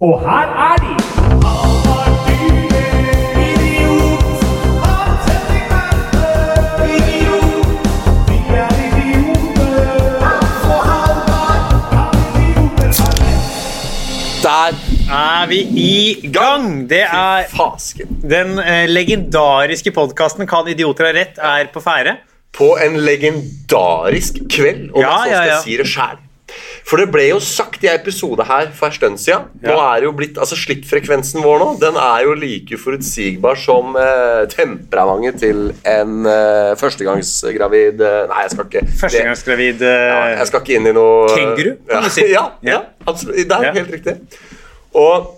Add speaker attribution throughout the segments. Speaker 1: Og her er de!
Speaker 2: Der
Speaker 3: er vi i gang. Det er
Speaker 2: fasken.
Speaker 3: den eh, legendariske podkasten Kan idioter ha rett? er på ferde.
Speaker 2: På en legendarisk kveld, om
Speaker 3: Ja,
Speaker 2: jeg så
Speaker 3: ja,
Speaker 2: skal
Speaker 3: ja.
Speaker 2: si det sjæl. For det ble jo sagt i en episode her for en stund siden. Nå
Speaker 3: Ja.
Speaker 2: er det jo blitt, altså Slikkfrekvensen vår nå Den er jo like forutsigbar som eh, temperamentet til en eh, førstegangsgravid eh, Nei, jeg skal ikke det-
Speaker 3: Førstegangsgravid
Speaker 2: ja,
Speaker 3: eh,
Speaker 2: Jeg skal ikke inn i noe
Speaker 3: Kenguru, kan
Speaker 2: ja.
Speaker 3: du si.
Speaker 2: Ja, ja,
Speaker 3: Ja.
Speaker 2: absolutt. Det er
Speaker 3: Ja.
Speaker 2: helt riktig. Og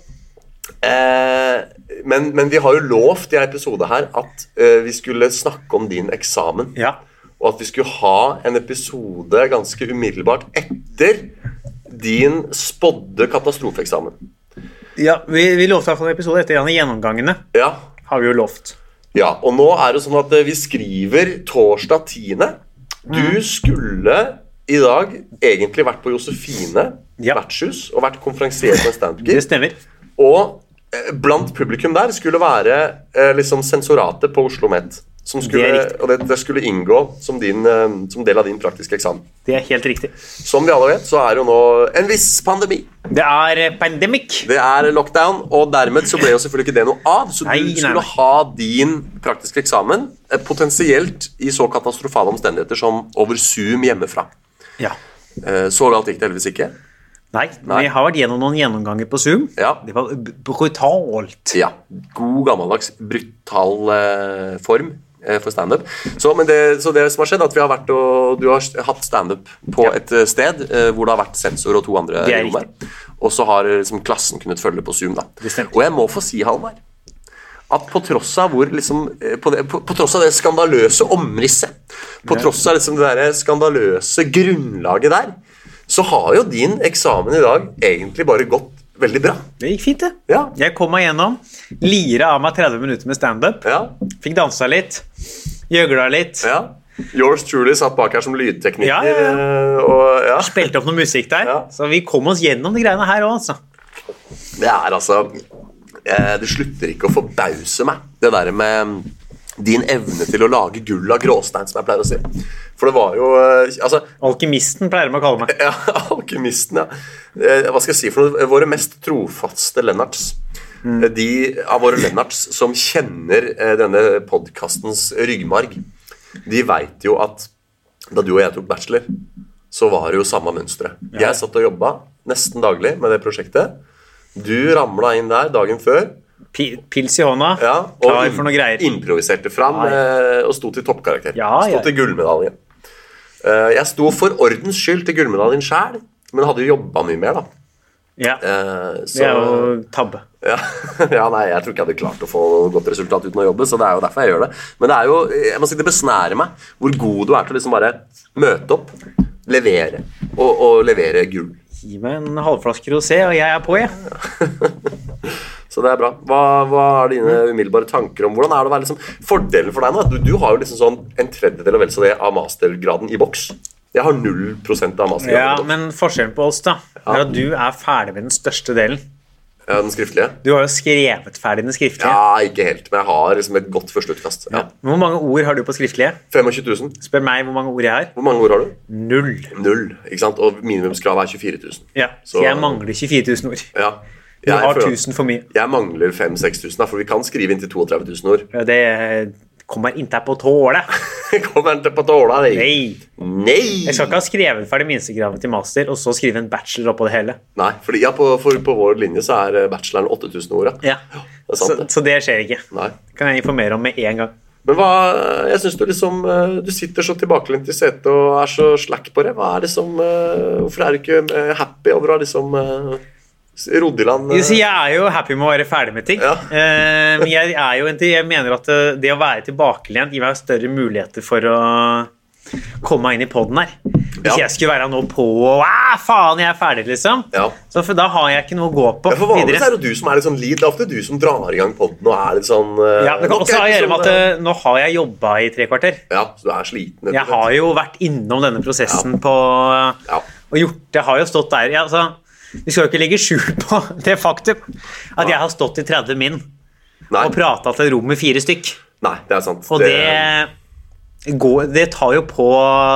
Speaker 2: eh, men, men vi har jo lovt i en episode her at eh, vi skulle snakke om din eksamen.
Speaker 3: Ja.
Speaker 2: Og at vi skulle ha en episode ganske umiddelbart etter din spådde katastrofeeksamen.
Speaker 3: ja vi, vi lovte i hvert fall en episode etter en av gjennomgangene.
Speaker 2: Ja.
Speaker 3: Har vi jo lovt.
Speaker 2: ja. Og nå er det sånn at eh, vi skriver torsdag 10.
Speaker 3: Mm.
Speaker 2: Du skulle i dag egentlig vært på Josefine
Speaker 3: Ja.
Speaker 2: vertshus og vært konferansier på en
Speaker 3: Det
Speaker 2: standup-gig.
Speaker 3: stemmer.
Speaker 2: Og eh, blant publikum der skulle være eh, liksom sensoratet på Oslo Met. Som skulle,
Speaker 3: Det er riktig.
Speaker 2: og det, det skulle inngå som, din, eh, som del av din praktiske eksamen.
Speaker 3: Det er helt riktig.
Speaker 2: Som vi alle vet, så er det jo nå en viss pandemi.
Speaker 3: Det er eh, pandemic.
Speaker 2: Det er lockdown, og dermed så ble jo selvfølgelig ikke det noe av. Så du
Speaker 3: Nei, nei, nei.
Speaker 2: skulle ha din praktiske eksamen eh, potensielt i så katastrofale omstendigheter som over Zoom hjemmefra.
Speaker 3: Ja.
Speaker 2: Eh, Så galt gikk det heldigvis ikke.
Speaker 3: Nei,
Speaker 2: Nei.
Speaker 3: vi har vært gjennom noen gjennomganger på Zoom.
Speaker 2: Ja.
Speaker 3: Det var b- brutalt.
Speaker 2: Ja. God, gammeldags, brutal eh, form eh, for standup. Så, men det, så det som har skjedd, er at vi har vært og, du har s- hatt standup på et eh, sted eh, hvor det har vært sensor og to andre
Speaker 3: Det er
Speaker 2: i rommet. Og så har eh, liksom, klassen kunnet følge på Zoom. da.
Speaker 3: Det stemmer.
Speaker 2: Og jeg må få si, Halvard, at på tross av hvor liksom eh, på, det, på, på tross av det skandaløse omrisset, på tross av liksom det der skandaløse grunnlaget der, så har jo din eksamen i dag egentlig bare gått veldig bra.
Speaker 3: Det gikk fint, det.
Speaker 2: Ja.
Speaker 3: Jeg kom meg gjennom. Lira av meg 30 minutter med standup.
Speaker 2: Ja,
Speaker 3: Fikk dansa litt. Gjøgla litt.
Speaker 2: Ja. Yours truly satt bak her som lydtekniker.
Speaker 3: Ja, ja,
Speaker 2: eh, Og, ja.
Speaker 3: Spilte opp noe musikk der.
Speaker 2: Ja.
Speaker 3: Så vi kom oss gjennom de greiene her òg, altså.
Speaker 2: Det er altså eh, Det slutter ikke å forbause meg, det der med din evne til å lage gull av gråstein, som jeg pleier å si. For det var jo eh, Altså,
Speaker 3: Alkymisten pleier de å kalle meg.
Speaker 2: ja, alkymisten, ja. Eh, Hva skal jeg si for noe? Våre mest trofaste Lennarts. Eh, De av våre Lennarts som kjenner eh, denne podkastens ryggmarg, de veit jo at da du og jeg tok bachelor, så var det jo samme mønsteret. Jeg satt og jobba nesten daglig med det prosjektet. Du ramla inn der dagen før.
Speaker 3: Pi- Pils i hånda,
Speaker 2: Ja,
Speaker 3: klar for noe greier.
Speaker 2: improviserte fram
Speaker 3: Ja,
Speaker 2: eh, og sto til toppkarakter.
Speaker 3: Ja, ja.
Speaker 2: Sto til gullmedaljen. Eh, jeg sto for ordens skyld til gullmedaljen sjæl, men hadde jo jobba mye mer, da.
Speaker 3: Ja,
Speaker 2: Eh, så,
Speaker 3: det er jo tabbe.
Speaker 2: ja, ja, nei, jeg tror ikke jeg hadde klart å få noe godt resultat uten å jobbe, så det er jo derfor jeg gjør det. Men det er jo, jeg må si det besnærer meg hvor god du er til å liksom bare møte opp, levere, og, og levere gull.
Speaker 3: Gi meg en halvflaske rosé, og jeg er på, jeg.
Speaker 2: Så det er bra. Hva, hva er dine
Speaker 3: Mm.
Speaker 2: umiddelbare tanker om hvordan er det å være liksom, Fordelen for deg nå er at du, du har jo liksom sånn en tredjedel og vel så det av mastergraden i boks. Jeg har 0 av mastergraden.
Speaker 3: Ja,
Speaker 2: i boks.
Speaker 3: men forskjellen på oss, da, er at du er ferdig med den største delen.
Speaker 2: Ja, den skriftlige?
Speaker 3: Du har jo skrevet ferdig den skriftlige.
Speaker 2: Ja, ikke helt, men jeg har liksom et godt førsteutkast. Ja.
Speaker 3: Hvor mange ord har du på skriftlige?
Speaker 2: 25 000.
Speaker 3: Spør meg hvor mange ord jeg har.
Speaker 2: Hvor mange ord har du?
Speaker 3: Null.
Speaker 2: Null. ikke sant? Og minimumskravet er 24 000.
Speaker 3: Ja,
Speaker 2: Så-
Speaker 3: så jeg mangler 24 000 ord.
Speaker 2: Ja.
Speaker 3: Du
Speaker 2: Jeg,
Speaker 3: har
Speaker 2: føler-
Speaker 3: 1000 for mye.
Speaker 2: jeg mangler 5000-6000, for vi kan skrive inntil 32 000 ord.
Speaker 3: Ja, Det kommer inntil på tåle.
Speaker 2: Kommer den til på tåla di?
Speaker 3: Nei.
Speaker 2: Nei.
Speaker 3: Jeg skal ikke ha skrevet ferdig minstekravet til master, og så skrive en bachelor oppå det hele.
Speaker 2: Nei, fordi, ja, på, for på vår linje så er eh, bacheloren 8000 ord. Ja.
Speaker 3: Ja.
Speaker 2: Det er
Speaker 3: Så,
Speaker 2: sant, det.
Speaker 3: så det skjer ikke.
Speaker 2: Nei.
Speaker 3: Det kan jeg informere om med en gang.
Speaker 2: Men hva, jeg syns du liksom eh, Du sitter så tilbakelent i setet og er så slack på det. Hva er det som, eh, hvorfor er du ikke eh, happy over å ha liksom eh, rodd i land eh,
Speaker 3: Så jeg er jo happy med å være ferdig med ting.
Speaker 2: Ja.
Speaker 3: Eh, Men jeg, er jo en, jeg mener at eh, det å være tilbakelent gir meg større muligheter for å komme meg inn i poden her. Hvis
Speaker 2: Ja.
Speaker 3: jeg skulle være nå på og «Ah, faen, jeg er ferdig, liksom.
Speaker 2: Ja.
Speaker 3: Så for da har jeg ikke noe å gå på
Speaker 2: Ja, for vanligvis
Speaker 3: videre.
Speaker 2: er det jo du som er litt sånn lead. Det er ofte du som drar i gang poden og er litt sånn eh,
Speaker 3: Ja, det kan
Speaker 2: nok
Speaker 3: også ha å gjøre med at
Speaker 2: episode.
Speaker 3: eh, nå har jeg jobba i tre kvarter.
Speaker 2: Ja, så du er sliten. rett og
Speaker 3: Jeg
Speaker 2: slett.
Speaker 3: har jo vært innom denne prosessen på
Speaker 2: Ja.
Speaker 3: og gjort Jeg har jo stått der. Ja, altså, Vi skal jo ikke legge skjul på det faktum at jeg har stått i 30 min
Speaker 2: Nei,
Speaker 3: og prata til et rom med fire stykk.
Speaker 2: nei, det er sant.
Speaker 3: Og det, går, det tar jo på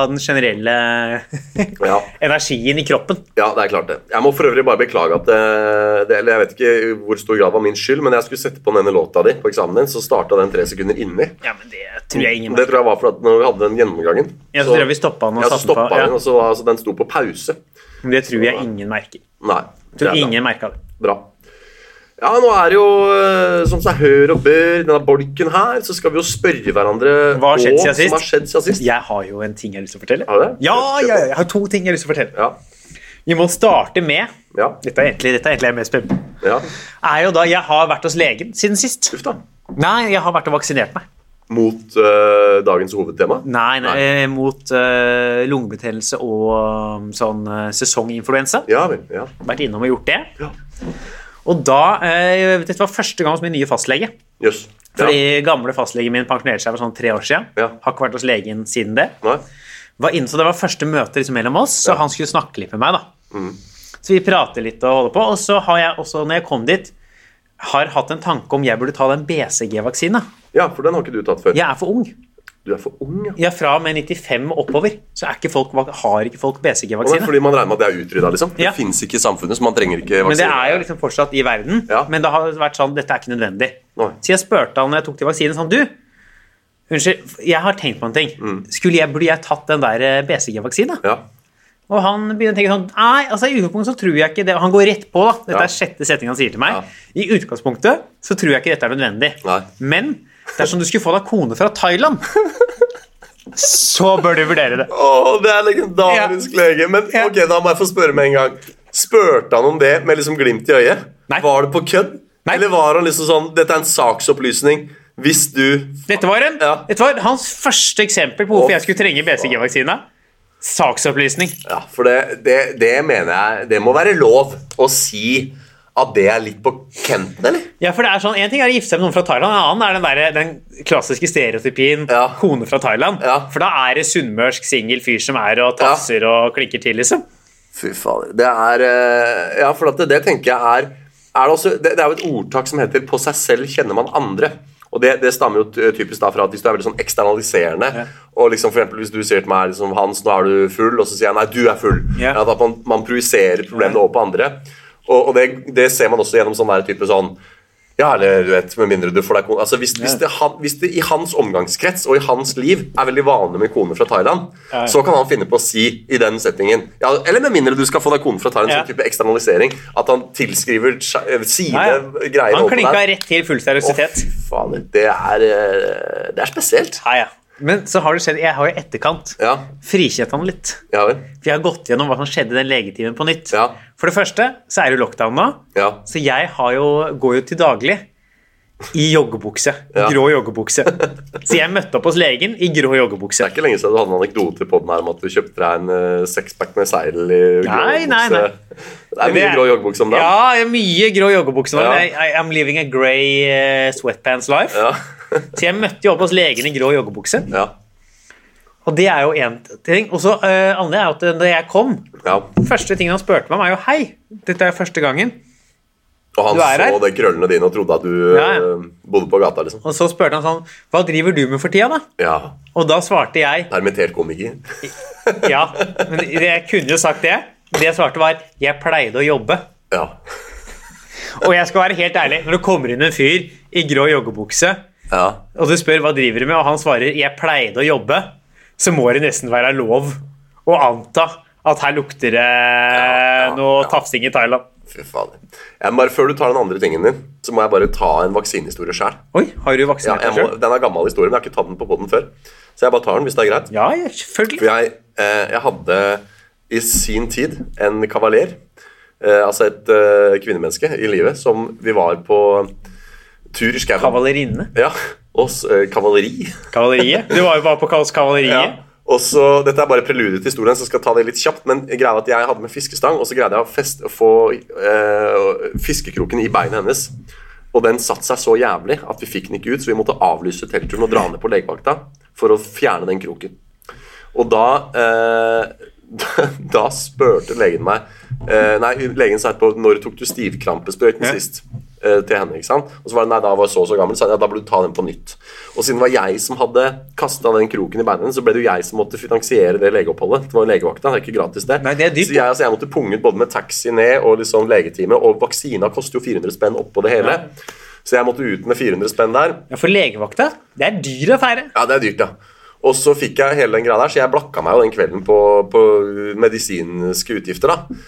Speaker 3: den generelle
Speaker 2: ja.
Speaker 3: energien i kroppen.
Speaker 2: Ja, det er klart det. Jeg må for øvrig bare beklage at eh, det, Eller jeg vet ikke i hvor stor grad det var min skyld, men jeg skulle sette på denne låta di på eksamen din, så starta den tre sekunder inni.
Speaker 3: Ja, men det tror jeg ingen
Speaker 2: Det tror jeg var for at når vi hadde den gjennomgangen
Speaker 3: Ja, så tror jeg vi stoppet den og
Speaker 2: ja, så
Speaker 3: satte den på,
Speaker 2: stoppet
Speaker 3: ja.
Speaker 2: den, og så var- altså, den sto på pause.
Speaker 3: Det tror jeg ingen merker.
Speaker 2: Nei. det er
Speaker 3: Tror
Speaker 2: bra.
Speaker 3: ingen merket det.
Speaker 2: Bra. Ja, nå er det jo eh, som seg hør og bør, denne bolken her, så skal vi jo spørre hverandre
Speaker 3: Hva har skjedd
Speaker 2: og-
Speaker 3: siden sist?
Speaker 2: Hva har skjedd siden sist?
Speaker 3: Jeg har jo en ting jeg har lyst til å fortelle.
Speaker 2: Har du det?
Speaker 3: Ja, ja, ja, jeg har to ting jeg har lyst til å fortelle.
Speaker 2: Ja.
Speaker 3: Vi må starte med
Speaker 2: Ja.
Speaker 3: Dette er egentlig, dette er egentlig jeg er mest spent på.
Speaker 2: ja.
Speaker 3: Er jo da jeg har vært hos legen siden sist.
Speaker 2: Uff da.
Speaker 3: Nei, jeg har vært og vaksinert meg.
Speaker 2: Mot eh, dagens hovedtema?
Speaker 3: Nei, nei.
Speaker 2: Nei.
Speaker 3: eh, mot eh, lungebetennelse og um, sånn eh, sesonginfluensa.
Speaker 2: Ja vel. Ja.
Speaker 3: Vært innom og gjort det.
Speaker 2: Ja.
Speaker 3: Og da eh, Dette var første gang hos min nye fastlege.
Speaker 2: Jøss.
Speaker 3: Fordi
Speaker 2: Ja.
Speaker 3: gamle fastlegen min pensjonerte seg for sånn tre år siden.
Speaker 2: Ja.
Speaker 3: Har ikke vært hos legen siden det.
Speaker 2: Nei.
Speaker 3: var inne, så det var første møte liksom mellom oss, så han skulle snakke litt med meg. da.
Speaker 2: Mm.
Speaker 3: Så vi prater litt og holder på. Og så har jeg også, når jeg kom dit, har hatt en tanke om jeg burde ta den BCG-vaksina.
Speaker 2: ja, for den har ikke du tatt før.
Speaker 3: Jeg er for ung.
Speaker 2: Du er for ung, ja.
Speaker 3: Jeg er fra og med 95 og oppover, så er ikke folk, vak- har ikke folk
Speaker 2: Og det er
Speaker 3: BCG-vaksine.
Speaker 2: fordi man regner med at det er utrydda, liksom. Det
Speaker 3: Ja.
Speaker 2: finnes ikke i samfunnet, så man trenger ikke
Speaker 3: Men det
Speaker 2: vaksine.
Speaker 3: er jo liksom fortsatt i verden.
Speaker 2: Ja.
Speaker 3: Men det har vært sånn dette er ikke nødvendig.
Speaker 2: Nei.
Speaker 3: Så jeg spurte han når jeg tok til vaksinen, sånn Du, unnskyld, jeg har tenkt på en ting.
Speaker 2: Mm.
Speaker 3: Skulle jeg, burde jeg tatt den der eh, BCG-vaksina?
Speaker 2: Ja.
Speaker 3: Og han begynner å tenke sånn Nei, altså i utgangspunktet så tror jeg ikke det Han går rett på, da. Dette
Speaker 2: Ja.
Speaker 3: er sjette setning han sier til meg.
Speaker 2: Ja.
Speaker 3: I utgangspunktet så tror jeg ikke dette er nødvendig.
Speaker 2: Nei.
Speaker 3: Men dersom du skulle få deg kone fra Thailand, så bør du vurdere det.
Speaker 2: Å, det er legendarisk lege. Men
Speaker 3: Ja.
Speaker 2: ok, da må jeg få spørre med en gang. Spurte han om det med liksom glimt i øyet?
Speaker 3: Nei.
Speaker 2: Var det på kødd?
Speaker 3: Nei.
Speaker 2: Eller var han liksom sånn Dette er en saksopplysning. Hvis du
Speaker 3: Dette var, en,
Speaker 2: Ja.
Speaker 3: dette var hans første eksempel på
Speaker 2: Å,
Speaker 3: hvorfor jeg skulle trenge BCG-vaksina. Saksopplysning.
Speaker 2: Ja, for det, det, det mener jeg Det må være lov å si at det er litt på kanten, eller?
Speaker 3: Ja, for det er sånn, En ting er å gifte seg med noen fra Thailand, en annen er den, derre- den klassiske stereotypien
Speaker 2: Ja.
Speaker 3: kone fra Thailand.
Speaker 2: Ja.
Speaker 3: For da er det sunnmørsk singel fyr som er og
Speaker 2: Ja.
Speaker 3: tafser og klikker til, liksom.
Speaker 2: Fy fader. Det er eh, Ja, for at det, det tenker jeg er, er det, også, det, det er jo et ordtak som heter 'på seg selv kjenner man andre'. Og det, det stammer jo ty- typisk da fra at hvis du er veldig sånn eksternaliserende og liksom for eksempel Hvis du sier til meg liksom, 'Hans, nå er du full', og så sier jeg 'nei, du er full'.
Speaker 3: Ja.
Speaker 2: At man, man projiserer problemene over på andre. Og, og det, det ser man også gjennom sånn der type sånn ja, eller du vet, med mindre du får deg kone altså, hvis, hvis, det, han, hvis det i hans omgangskrets og i hans liv er veldig vanlig med kone fra Thailand,
Speaker 3: ja.
Speaker 2: så kan han finne på å si i den settingen ja, Eller med mindre du skal få deg kone fra Thailand,
Speaker 3: Ja.
Speaker 2: sånn type eksternalisering. At han tilskriver sj- eh, sine
Speaker 3: Ja, ja.
Speaker 2: greier
Speaker 3: Han
Speaker 2: over
Speaker 3: klinka
Speaker 2: der.
Speaker 3: rett til full
Speaker 2: Å,
Speaker 3: seriøsitet.
Speaker 2: fy fader, det er eh, Det er spesielt.
Speaker 3: Ja, ja. Men så har det skjedd, jeg har jo i etterkant
Speaker 2: Ja,
Speaker 3: frikjent han litt.
Speaker 2: ja vel.
Speaker 3: For jeg har gått gjennom hva som skjedde i den legetimen på nytt.
Speaker 2: Ja.
Speaker 3: For det første så er det lockdown nå,
Speaker 2: Ja.
Speaker 3: så jeg har jo, går jo til daglig i joggebukse.
Speaker 2: Ja.
Speaker 3: Grå joggebukse. Så jeg møtte opp hos legen i grå joggebukse.
Speaker 2: Det er ikke lenge siden du hadde en anekdote på den her om at du kjøpte deg en eh, sexpack med seil i grå
Speaker 3: Nei, nei,
Speaker 2: joggebukse.
Speaker 3: nei.
Speaker 2: Det er mye grå joggebukse om dagen.
Speaker 3: Ja, jeg har mye grå joggebukse. nå,
Speaker 2: Ja.
Speaker 3: men jeg- I- I'm living a grey eh, sweatpants life.
Speaker 2: Ja.
Speaker 3: Så jeg møtte jo opp hos legen i grå joggebukse.
Speaker 2: ja.
Speaker 3: Og det er jo én ting. Og så eh, andre er jo at da jeg kom
Speaker 2: ja.
Speaker 3: Første ting han spurte meg, var jo hei. Dette er første gangen.
Speaker 2: Og han
Speaker 3: Du er
Speaker 2: så
Speaker 3: her?
Speaker 2: de krøllene dine og trodde at du
Speaker 3: Ja, ja.
Speaker 2: eh, bodde på gata, liksom.
Speaker 3: Og så spurte han sånn Hva driver du med for tida, da?
Speaker 2: Ja.
Speaker 3: Og da svarte jeg
Speaker 2: Permittert komiker.
Speaker 3: ja. Men jeg kunne jo sagt det. Det jeg svarte, var jeg pleide å jobbe.
Speaker 2: Ja.
Speaker 3: Og jeg skal være helt ærlig, når det kommer inn en fyr i grå joggebukse,
Speaker 2: ja.
Speaker 3: og du spør hva driver du med, og han svarer jeg pleide å jobbe, så må det nesten være lov å anta at her lukter det
Speaker 2: ja,
Speaker 3: noe
Speaker 2: ja.
Speaker 3: tafsing i Thailand.
Speaker 2: Fy fader. Jeg må bare, før du tar den andre tingen din, så må jeg bare ta en vaksinehistorie sjøl.
Speaker 3: Oi, har du
Speaker 2: Ja,
Speaker 3: vaksinert
Speaker 2: jeg
Speaker 3: deg
Speaker 2: må-
Speaker 3: sjøl?
Speaker 2: den er gammel historie, men jeg har ikke tatt den på poden før. Så jeg bare tar den, hvis det er greit.
Speaker 3: Ja, ja, selvfølgelig.
Speaker 2: For jeg, eh, jeg hadde i sin tid en kavaler, eh, altså et eh, kvinnemenneske i livet, som vi var på tur i skauen.
Speaker 3: Kavalerinne.
Speaker 2: Ja, oss, eh, kavaleri.
Speaker 3: Kavaleriet. Du var jo bare på kaos kavaleriet.
Speaker 2: Ja. Og så, Dette er bare preludiet til historien, så jeg skal ta det litt kjapt. Men greia er at jeg hadde med fiskestang, og så greide jeg å fest, å få eh, fiskekroken i beinet hennes. Og den satte seg så jævlig at vi fikk den ikke ut, så vi måtte avlyse teltturen og dra ned på legevakta for å fjerne den kroken. Og da eh, Da spurte legen meg Eh, nei, legen sa etterpå 'Når tok du stivkrampesprøyten
Speaker 3: Ja.
Speaker 2: sist?' Eh, til henne. ikke sant? Og så var det 'Nei, da var jeg så og så gammel', så sa jeg, ja, da burde du ta den på nytt. Og siden det var jeg som hadde kasta den kroken i beinet, så ble det jo jeg som måtte finansiere det legeoppholdet. Det var jo legevakta, det er ikke gratis, det.
Speaker 3: Nei, det er dyrt,
Speaker 2: så jeg, altså, jeg måtte punge ut både med taxi ned og liksom legetime, og vaksina koster jo 400 spenn oppå det hele. Så jeg måtte ut med 400 spenn der.
Speaker 3: Ja, For legevakta, det er dyr affære.
Speaker 2: Ja, det er dyrt, ja. Og så fikk jeg hele den greia der, så jeg blakka meg jo den kvelden på, på medisinske utgifter, da.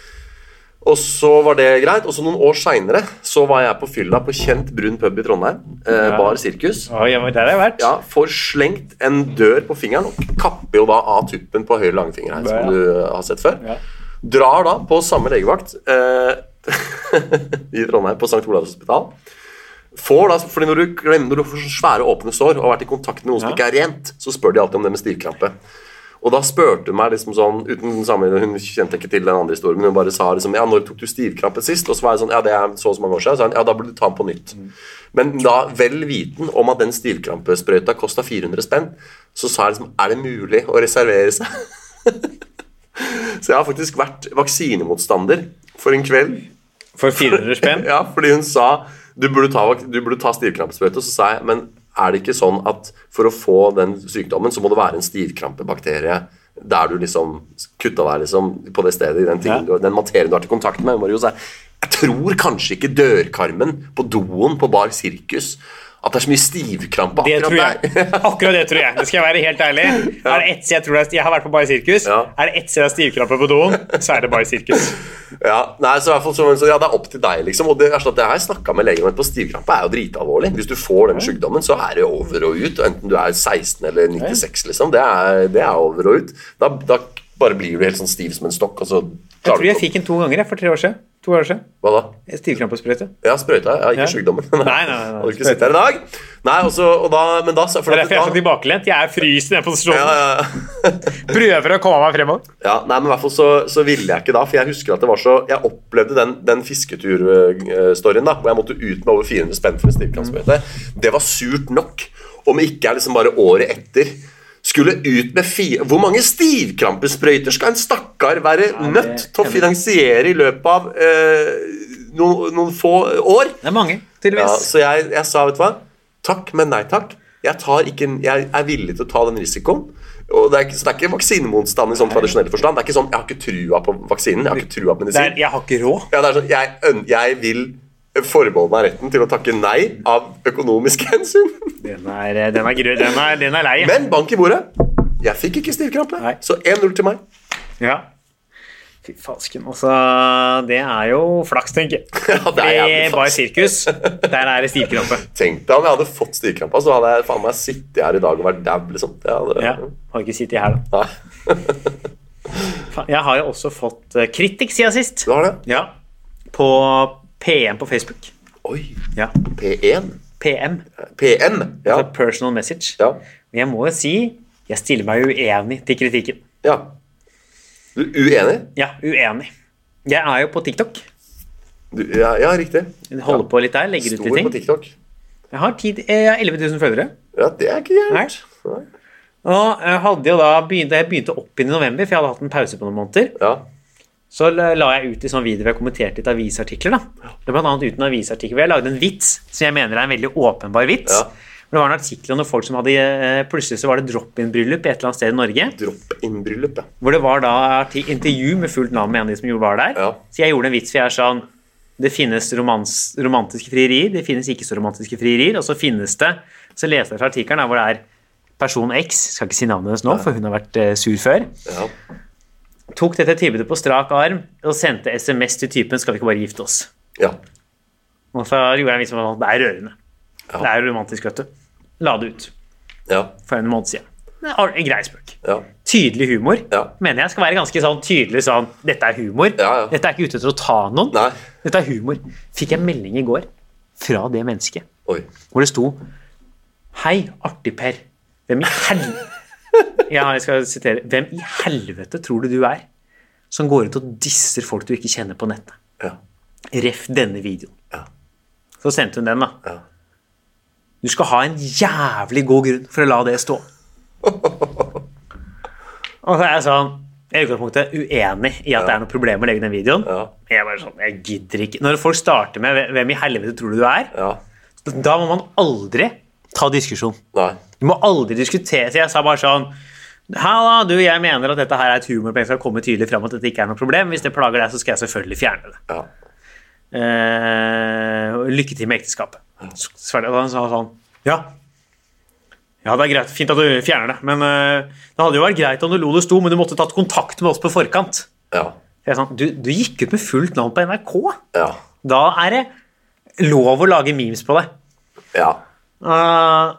Speaker 2: Og så var det greit. Og så noen år seinere så var jeg på fylla på Kjent Brun pub i Trondheim. Eh,
Speaker 3: Ja.
Speaker 2: Bar Sirkus.
Speaker 3: Oi, ja, men der har jeg vært.
Speaker 2: Ja, får slengt en dør på fingeren og kapper jo da av tuppen på høyre langfinger her,
Speaker 3: Ja.
Speaker 2: som du har sett før.
Speaker 3: Ja.
Speaker 2: Drar da på samme legevakt eh, i Trondheim, på St. Olavs hospital. Får da, fordi når du, glemmer, når du får sånne svære åpne sår og har vært i kontakt med noen som
Speaker 3: Ja.
Speaker 2: ikke er rent, så spør de alltid om det med stivkrampe. Og da spurte hun meg liksom sånn uten sammenligning, Hun kjente ikke til den andre historien, men hun bare sa liksom Ja, når tok du stivkrampe sist? Og så var jeg sånn Ja, det er så og så mange år siden. Så sa hun, ja, da burde du ta den på nytt.
Speaker 3: Mm.
Speaker 2: Men da vel viten om at den stivkrampesprøyta kosta 400 spenn, så sa jeg liksom Er det mulig å reservere seg? så jeg har faktisk vært vaksinemotstander for en kveld.
Speaker 3: For 400 spenn.
Speaker 2: Ja, fordi hun sa du burde ta, vak- du burde ta stivkrampesprøyte. Og så sa jeg men er det ikke sånn at for å få den sykdommen, så må det være en stivkrampebakterie der du liksom kutta deg liksom på det stedet, i den, tingen,
Speaker 3: Ja.
Speaker 2: du- den materien du har til kontakt med? Hun bare, jo, sa jeg, jeg tror kanskje ikke dørkarmen på doen på Bar Sirkus at det er så mye stivkrampe
Speaker 3: Det tror
Speaker 2: akkurat
Speaker 3: jeg.
Speaker 2: der.
Speaker 3: Akkurat det tror jeg. Det skal jeg være helt ærlig. Er det ett sted jeg tror det er Jeg har vært på Bare Sirkus.
Speaker 2: Ja.
Speaker 3: Er det ett sted det er stivkrampe på doen, så er det Bare Sirkus.
Speaker 2: Ja, nei, så i hvert fall så, så, ja, Det er opp til deg, liksom. Og det verste at det her snakka med legen om etterpå. Stivkrampe er jo dritalvorlig. Hvis du får den sykdommen, så er det over og ut. Enten du er 16 eller 96, liksom. Det er, det er over og ut. Da, da bare blir du helt sånn stiv som en stokk, og så
Speaker 3: Jeg tror
Speaker 2: klarer du
Speaker 3: jeg
Speaker 2: ikke
Speaker 3: fikk den to ganger jeg, for tre år siden. To år siden.
Speaker 2: Hva da?
Speaker 3: Stivkrampesprøyte. Det
Speaker 2: Ja, sprøyta. Ja, ikke
Speaker 3: Ja.
Speaker 2: sykdommen.
Speaker 3: nei, nei, nei.
Speaker 2: Hadde ikke sittet her i dag. Nei, og så og da, Men da for
Speaker 3: er
Speaker 2: at-
Speaker 3: derfor jeg er så
Speaker 2: da-
Speaker 3: tilbakelent. Jeg er fryst i den
Speaker 2: ja,
Speaker 3: posisjonen.
Speaker 2: ja, ja.
Speaker 3: Prøver å komme meg fremover.
Speaker 2: Ja, nei, men i hvert fall så, så ville jeg ikke da, for jeg husker at det var så Jeg opplevde den, den fisketur-storyen da, hvor jeg måtte ut med over 400 spenn for en stivkrampsprøyte. Det var surt nok. Om ikke jeg liksom bare året etter skulle ut med fire Hvor mange stivkrampesprøyter skal en stakkar være nødt til å finansiere i løpet av eh, noen, noen få år?
Speaker 3: Det er mange,
Speaker 2: Ja,
Speaker 3: tydeligvis.
Speaker 2: så jeg, jeg sa, vet du hva Takk, men nei takk. Jeg, tar ikke, jeg er villig til å ta den risikoen. Og det er ikke, så det er ikke vaksinemotstand i sånn tradisjonell forstand. Det er ikke sånn, Jeg har ikke trua på vaksinen. Jeg har ikke trua på
Speaker 3: Det er,
Speaker 2: medisin.
Speaker 3: jeg har ikke råd.
Speaker 2: Ja, det er sånn, jeg, øn- jeg vil forbeholde meg retten til å takke nei av økonomiske hensyn.
Speaker 3: Den er, eh, den er, grø- den er, den er lei.
Speaker 2: Men bank i bordet. Jeg fikk ikke stivkrampe,
Speaker 3: Nei.
Speaker 2: så 1-0 til meg.
Speaker 3: Ja. Fy fasken, altså. Det er jo flaks, tenker jeg.
Speaker 2: Ja, det er
Speaker 3: I
Speaker 2: jævlig
Speaker 3: Bar
Speaker 2: flaks.
Speaker 3: Sirkus, der er det stivkrampe.
Speaker 2: Tenk deg om jeg hadde fått stivkrampa, så hadde jeg faen meg sittet her i dag og vært dau. Liksom. Det hadde-
Speaker 3: Ja, har ikke sittet her, da.
Speaker 2: Nei.
Speaker 3: Faen, Jeg har jo også fått eh, kritikk siden sist.
Speaker 2: Du har det?
Speaker 3: Ja. På PM på Facebook.
Speaker 2: Oi.
Speaker 3: Ja.
Speaker 2: P1.
Speaker 3: PM.
Speaker 2: PN. Ja.
Speaker 3: Altså personal message.
Speaker 2: Ja.
Speaker 3: Men jeg må jo si jeg stiller meg uenig til kritikken.
Speaker 2: ja. Du er uenig?
Speaker 3: Ja, uenig. Jeg er jo på TikTok.
Speaker 2: Du, ja, ja, riktig.
Speaker 3: Jeg Holder på litt der, legger ut
Speaker 2: Stor på
Speaker 3: litt ting.
Speaker 2: TikTok.
Speaker 3: Jeg har tid, eh, jeg har 11 000 følgere.
Speaker 2: Ja, det er ikke gærent. Nei.
Speaker 3: Og jeg hadde jo da begynt, jeg begynte opp inn i november, for jeg hadde hatt en pause på noen måneder,
Speaker 2: Ja.
Speaker 3: så la la jeg ut i sånn video hvor jeg kommenterte litt avisartikler. da. Det var blant annet uten avisartikler, hvor jeg lagde en vits som jeg mener er en veldig åpenbar vits.
Speaker 2: Ja.
Speaker 3: Hvor Det var en artikkel om noen folk som hadde, eh, Plutselig så var det drop-in-bryllup i et eller annet sted i Norge.
Speaker 2: Drop-in-bryllup, ja.
Speaker 3: Hvor det var da arti- intervju med fullt navn med en av de som jo var der.
Speaker 2: Ja.
Speaker 3: Så jeg gjorde en vits for jeg er sånn Det finnes romans, romantiske frierier, det finnes ikke så romantiske frierier, og så finnes det Så leste jeg fra artikkelen der hvor det er person X, skal ikke si navnet hennes nå, for hun har vært eh, sur før,
Speaker 2: ja.
Speaker 3: tok dette tilbudet på strak arm og sendte SMS til typen 'Skal vi ikke bare gifte oss?'
Speaker 2: Ja.
Speaker 3: Og så gjorde jeg en vits om at det er rørende.
Speaker 2: Ja.
Speaker 3: Det er romantisk, vet du. La det ut
Speaker 2: Ja.
Speaker 3: for en måned siden. Det er en grei spøk.
Speaker 2: Ja.
Speaker 3: Tydelig humor
Speaker 2: Ja.
Speaker 3: mener jeg skal være ganske sånn tydelig sånn Dette er humor.
Speaker 2: Ja, ja.
Speaker 3: Dette er ikke ute etter å ta noen.
Speaker 2: Nei.
Speaker 3: Dette er humor. Fikk jeg melding i går fra det mennesket
Speaker 2: Oi.
Speaker 3: hvor det sto Hei, artig Per. Hvem i hel... Ja, jeg skal sitere. Hvem i helvete tror du du er som går ut og disser folk du ikke kjenner på nettet?
Speaker 2: Ja.
Speaker 3: Ref denne videoen.
Speaker 2: Ja.
Speaker 3: Så sendte hun den, da.
Speaker 2: Ja.
Speaker 3: Du skal ha en jævlig god grunn for å la det stå. Og så er jeg sånn Jeg er i utgangspunktet uenig i at det er noen problemer med å legge den videoen.
Speaker 2: Ja.
Speaker 3: Jeg er bare sånn, jeg gidder ikke. Når folk starter med 'Hvem i helvete tror du du er?'
Speaker 2: Ja.
Speaker 3: Da må man aldri ta diskusjon.
Speaker 2: Nei.
Speaker 3: Du må aldri diskutere. Så jeg sa bare sånn Halla, du, jeg mener at dette her er et humorpoeng. Skal komme tydelig fram at dette ikke er noe problem. Hvis det plager deg, så skal jeg selvfølgelig fjerne det.
Speaker 2: Ja.
Speaker 3: Eh, og lykke til med ekteskapet. Så Sverre han sa sånn Ja. Ja, det er greit. Fint at du fjerner det. Men eh, det hadde jo vært greit om du lo det sto, men du måtte tatt kontakt med oss på forkant.
Speaker 2: Ja.
Speaker 3: Så Jeg sa, du, du gikk ut med fullt navn på NRK.
Speaker 2: Ja.
Speaker 3: Da er det lov å lage memes på det.
Speaker 2: ja.
Speaker 3: Eh,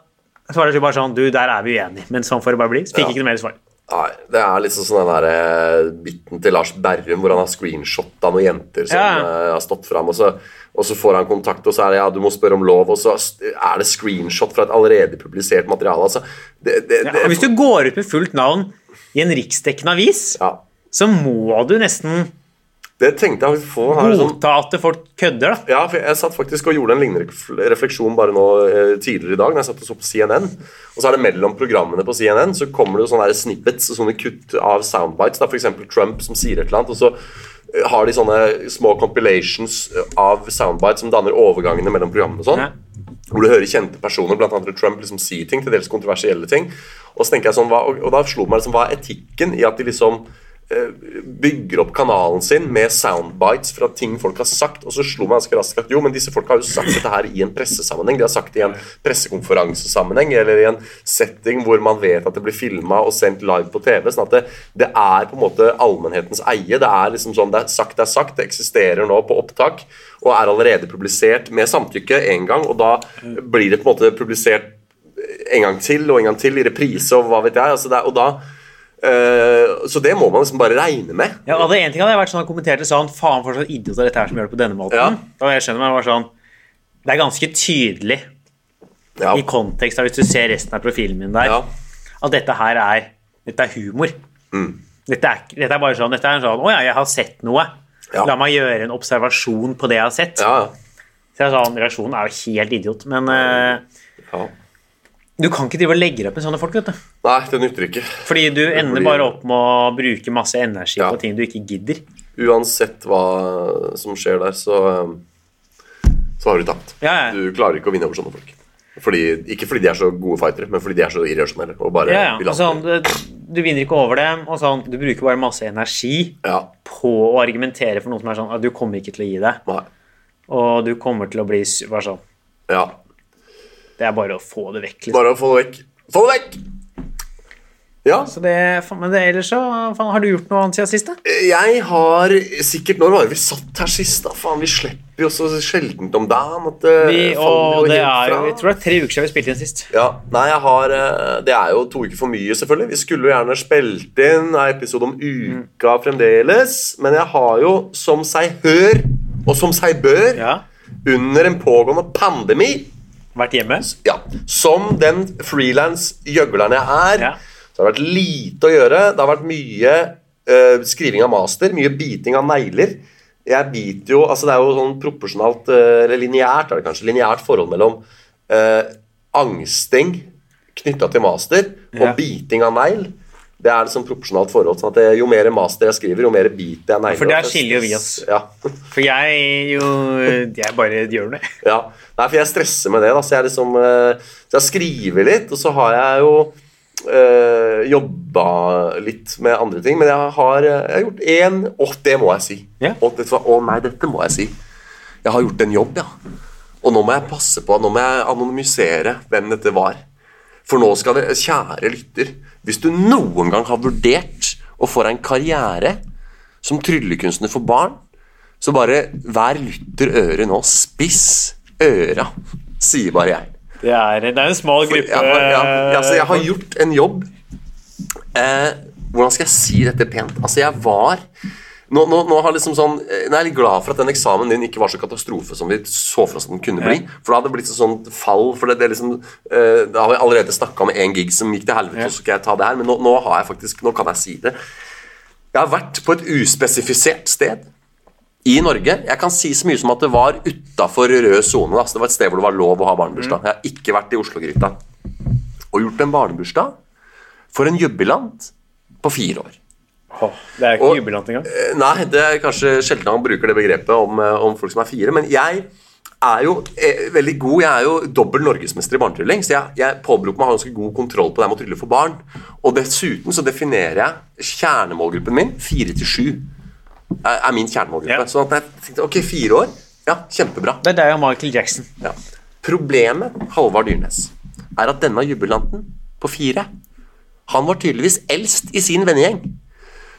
Speaker 3: så var det bare sånn Du, der er vi uenige, men sånn får det bare bli. Så fikk
Speaker 2: Ja.
Speaker 3: ikke noe mer svar.
Speaker 2: Nei, Det er liksom sånn den der eh, biten til Lars Berrum hvor han har screenshotta noen jenter som
Speaker 3: Ja.
Speaker 2: eh, har stått fram, og så, og så får han kontakt, og så er det ja, du må spørre om lov, og så er det screenshot fra et allerede publisert materiale. Altså, det, det,
Speaker 3: Ja,
Speaker 2: det,
Speaker 3: og hvis du går ut med fullt navn i en riksdekkende avis,
Speaker 2: ja.
Speaker 3: så må du nesten
Speaker 2: det tenkte jeg få. her, sånn,
Speaker 3: godta at folk kødder, da.
Speaker 2: Ja, for jeg satt faktisk og gjorde en lignende ref- refleksjon bare nå eh, tidligere i dag. når jeg satt og så på CNN. Og så er det mellom programmene på CNN så kommer det jo sånne der snippets sånne kutt av soundbites. da, F.eks. Trump som sier et eller annet. og så eh, har de sånne små compilations eh, av soundbites som danner overgangene mellom programmene. og sånn,
Speaker 3: Ja.
Speaker 2: Hvor du hører kjente personer, blant annet Trump, liksom si ting, til dels kontroversielle ting. Og så tenker jeg sånn, hva, og, og da slo det meg liksom, hva er etikken i at de liksom bygger opp kanalen sin med soundbites fra ting folk har sagt. Og så slo meg ganske raskt at jo, men disse folk har jo sagt dette her i en pressesammenheng. De har sagt det i en pressekonferansesammenheng eller i en setting hvor man vet at det blir filma og sendt live på TV. sånn at det, det er på en måte allmennhetens eie. Det er liksom sånn det er sagt, det er sagt. Det eksisterer nå på opptak og er allerede publisert med samtykke én gang, og da blir det på en måte publisert en gang til og en gang til i reprise og hva vet jeg. Altså det er, og da eh, Så det må man liksom bare regne med.
Speaker 3: Ja, hadde en ting hadde jeg vært sånn og kommentert det sånn Faen, for sånn idiot er dette her som gjør det på denne måten.
Speaker 2: Ja.
Speaker 3: Da jeg skjønner meg, det var sånn Det er ganske tydelig
Speaker 2: Ja.
Speaker 3: i kontekst, da, hvis du ser resten av profilen min der,
Speaker 2: Ja.
Speaker 3: at dette her er Dette er humor. Mm. Dette, er, ikke- dette er bare sånn Dette er en sånn Å ja, jeg har sett noe.
Speaker 2: Ja.
Speaker 3: La meg gjøre en observasjon på det jeg har sett.
Speaker 2: Ja,
Speaker 3: Så jeg sa, han, Reaksjonen er jo helt idiot, men eh,
Speaker 2: ja.
Speaker 3: du kan ikke drive og legge deg opp med sånne folk. vet du.
Speaker 2: Nei, det nytter ikke.
Speaker 3: Fordi du ender
Speaker 2: blir-
Speaker 3: bare opp med å bruke masse energi
Speaker 2: Ja.
Speaker 3: på ting du ikke gidder.
Speaker 2: Uansett hva som skjer der, så eh, så har du tapt.
Speaker 3: Ja, ja.
Speaker 2: Du klarer ikke å vinne over sånne folk. Fordi, ikke fordi de er så gode fightere, men fordi de er så irrasjonelle. Og bare
Speaker 3: Ja, ja.
Speaker 2: vil
Speaker 3: Og
Speaker 2: ha
Speaker 3: sånn,
Speaker 2: det.
Speaker 3: du, du vinner ikke over dem, og sånn, du bruker bare masse energi
Speaker 2: Ja.
Speaker 3: på å argumentere for noe som er sånn at du kommer ikke til å gi deg,
Speaker 2: Nei.
Speaker 3: og du kommer til å bli su- bare sånn
Speaker 2: Ja.
Speaker 3: Det er bare å få det vekk. Liksom.
Speaker 2: Bare å få det vekk. Få det vekk! Ja,
Speaker 3: Så det, faen, men det ellers så faen, Har du gjort noe annet siden sist, da?
Speaker 2: Jeg har sikkert Når var det vi satt her sist? da? Faen, Vi slipper jo så sjeldent om dagen at det
Speaker 3: Vi,
Speaker 2: faller
Speaker 3: og det
Speaker 2: helt
Speaker 3: er jo
Speaker 2: fra.
Speaker 3: Jeg tror det er tre uker siden vi spilte inn sist.
Speaker 2: ja, nei, jeg har, eh, Det er jo to uker for mye, selvfølgelig. Vi skulle jo gjerne spilt inn en episode om uka fremdeles. Men jeg har jo, som seg hør og som seg bør,
Speaker 3: Ja.
Speaker 2: under en pågående pandemi
Speaker 3: Vært hjemme.
Speaker 2: ja, Som den frilans-gjøgleren jeg er,
Speaker 3: Ja.
Speaker 2: så har det vært lite å gjøre. Det har vært mye eh, skriving av master, mye biting av negler. Jeg biter jo Altså, det er jo sånn proporsjonalt, eh, eller lineært, er det kanskje, lineært forhold mellom eh, angsting knytta til master og
Speaker 3: Ja.
Speaker 2: biting av negl. Det er liksom proporsjonalt forhold. sånn at det, Jo mer master jeg skriver, jo mer biter jeg negler.
Speaker 3: For der
Speaker 2: Og det-
Speaker 3: skiller jo vi oss.
Speaker 2: Ja.
Speaker 3: For jeg jo Jeg bare gjør noe.
Speaker 2: Ja, Nei, for jeg stresser med det. da, Så jeg liksom eh, Så jeg skriver litt, og så har jeg jo eh, jobba litt med andre ting. Men jeg har, eh, jeg har gjort én Å, det må jeg si!
Speaker 3: Ja.
Speaker 2: Å, vet du hva? Å nei, dette må jeg si. Jeg har gjort en jobb, ja. Og nå må jeg passe på, nå må jeg anonymisere hvem dette var. For nå skal det Kjære lytter, hvis du noen gang har vurdert å få deg en karriere som tryllekunstner for barn, så bare hver lytter øret nå. Spiss øra, sier bare jeg.
Speaker 3: Det er, det er en smal
Speaker 2: For jeg,
Speaker 3: gruppe.
Speaker 2: har- jeg, altså, jeg har gjort en jobb eh, Hvordan skal jeg si dette pent? Altså, jeg var nå, nå, nå har liksom sånn, eh, nå er jeg litt glad for at den eksamen din ikke var så katastrofe som vi så for oss at den kunne bli. For da hadde det blitt et sånt fall. for det, det er liksom, eh, Da har vi allerede snakka om én gig som gikk til helvete, og så skal jeg ta det her. Men nå, nå har jeg faktisk, nå kan jeg si det. Jeg har vært på et uspesifisert sted i Norge. Jeg kan si så mye som at det var utafor rød sone. da. Så Det var et sted hvor det var lov å ha barnebursdag. Jeg har ikke vært i Oslo-gryta. Og gjort en barnebursdag for en jubilant på fire år.
Speaker 3: Åh, det er jo
Speaker 2: Og-
Speaker 3: ikke jubilant engang.
Speaker 2: Eh, Nei, det er kanskje sjelden han bruker det begrepet om, eh, om folk som er fire. Men jeg er jo eh, veldig god. Jeg er jo dobbel norgesmester i barnetrylling, så jeg, jeg påberoper meg å ha ganske god kontroll på det her med å trylle for barn. Og dessuten så definerer jeg kjernemålgruppen min fire til sju. Er er min kjernemålgruppe.
Speaker 3: Ja.
Speaker 2: Sånn at jeg tenkte ok, fire år. Ja, kjempebra.
Speaker 3: Det er deg og Michael Jackson.
Speaker 2: Ja. Problemet, Halvard Dyrnes, er at denne jubilanten på fire Han var tydeligvis eldst i sin vennegjeng.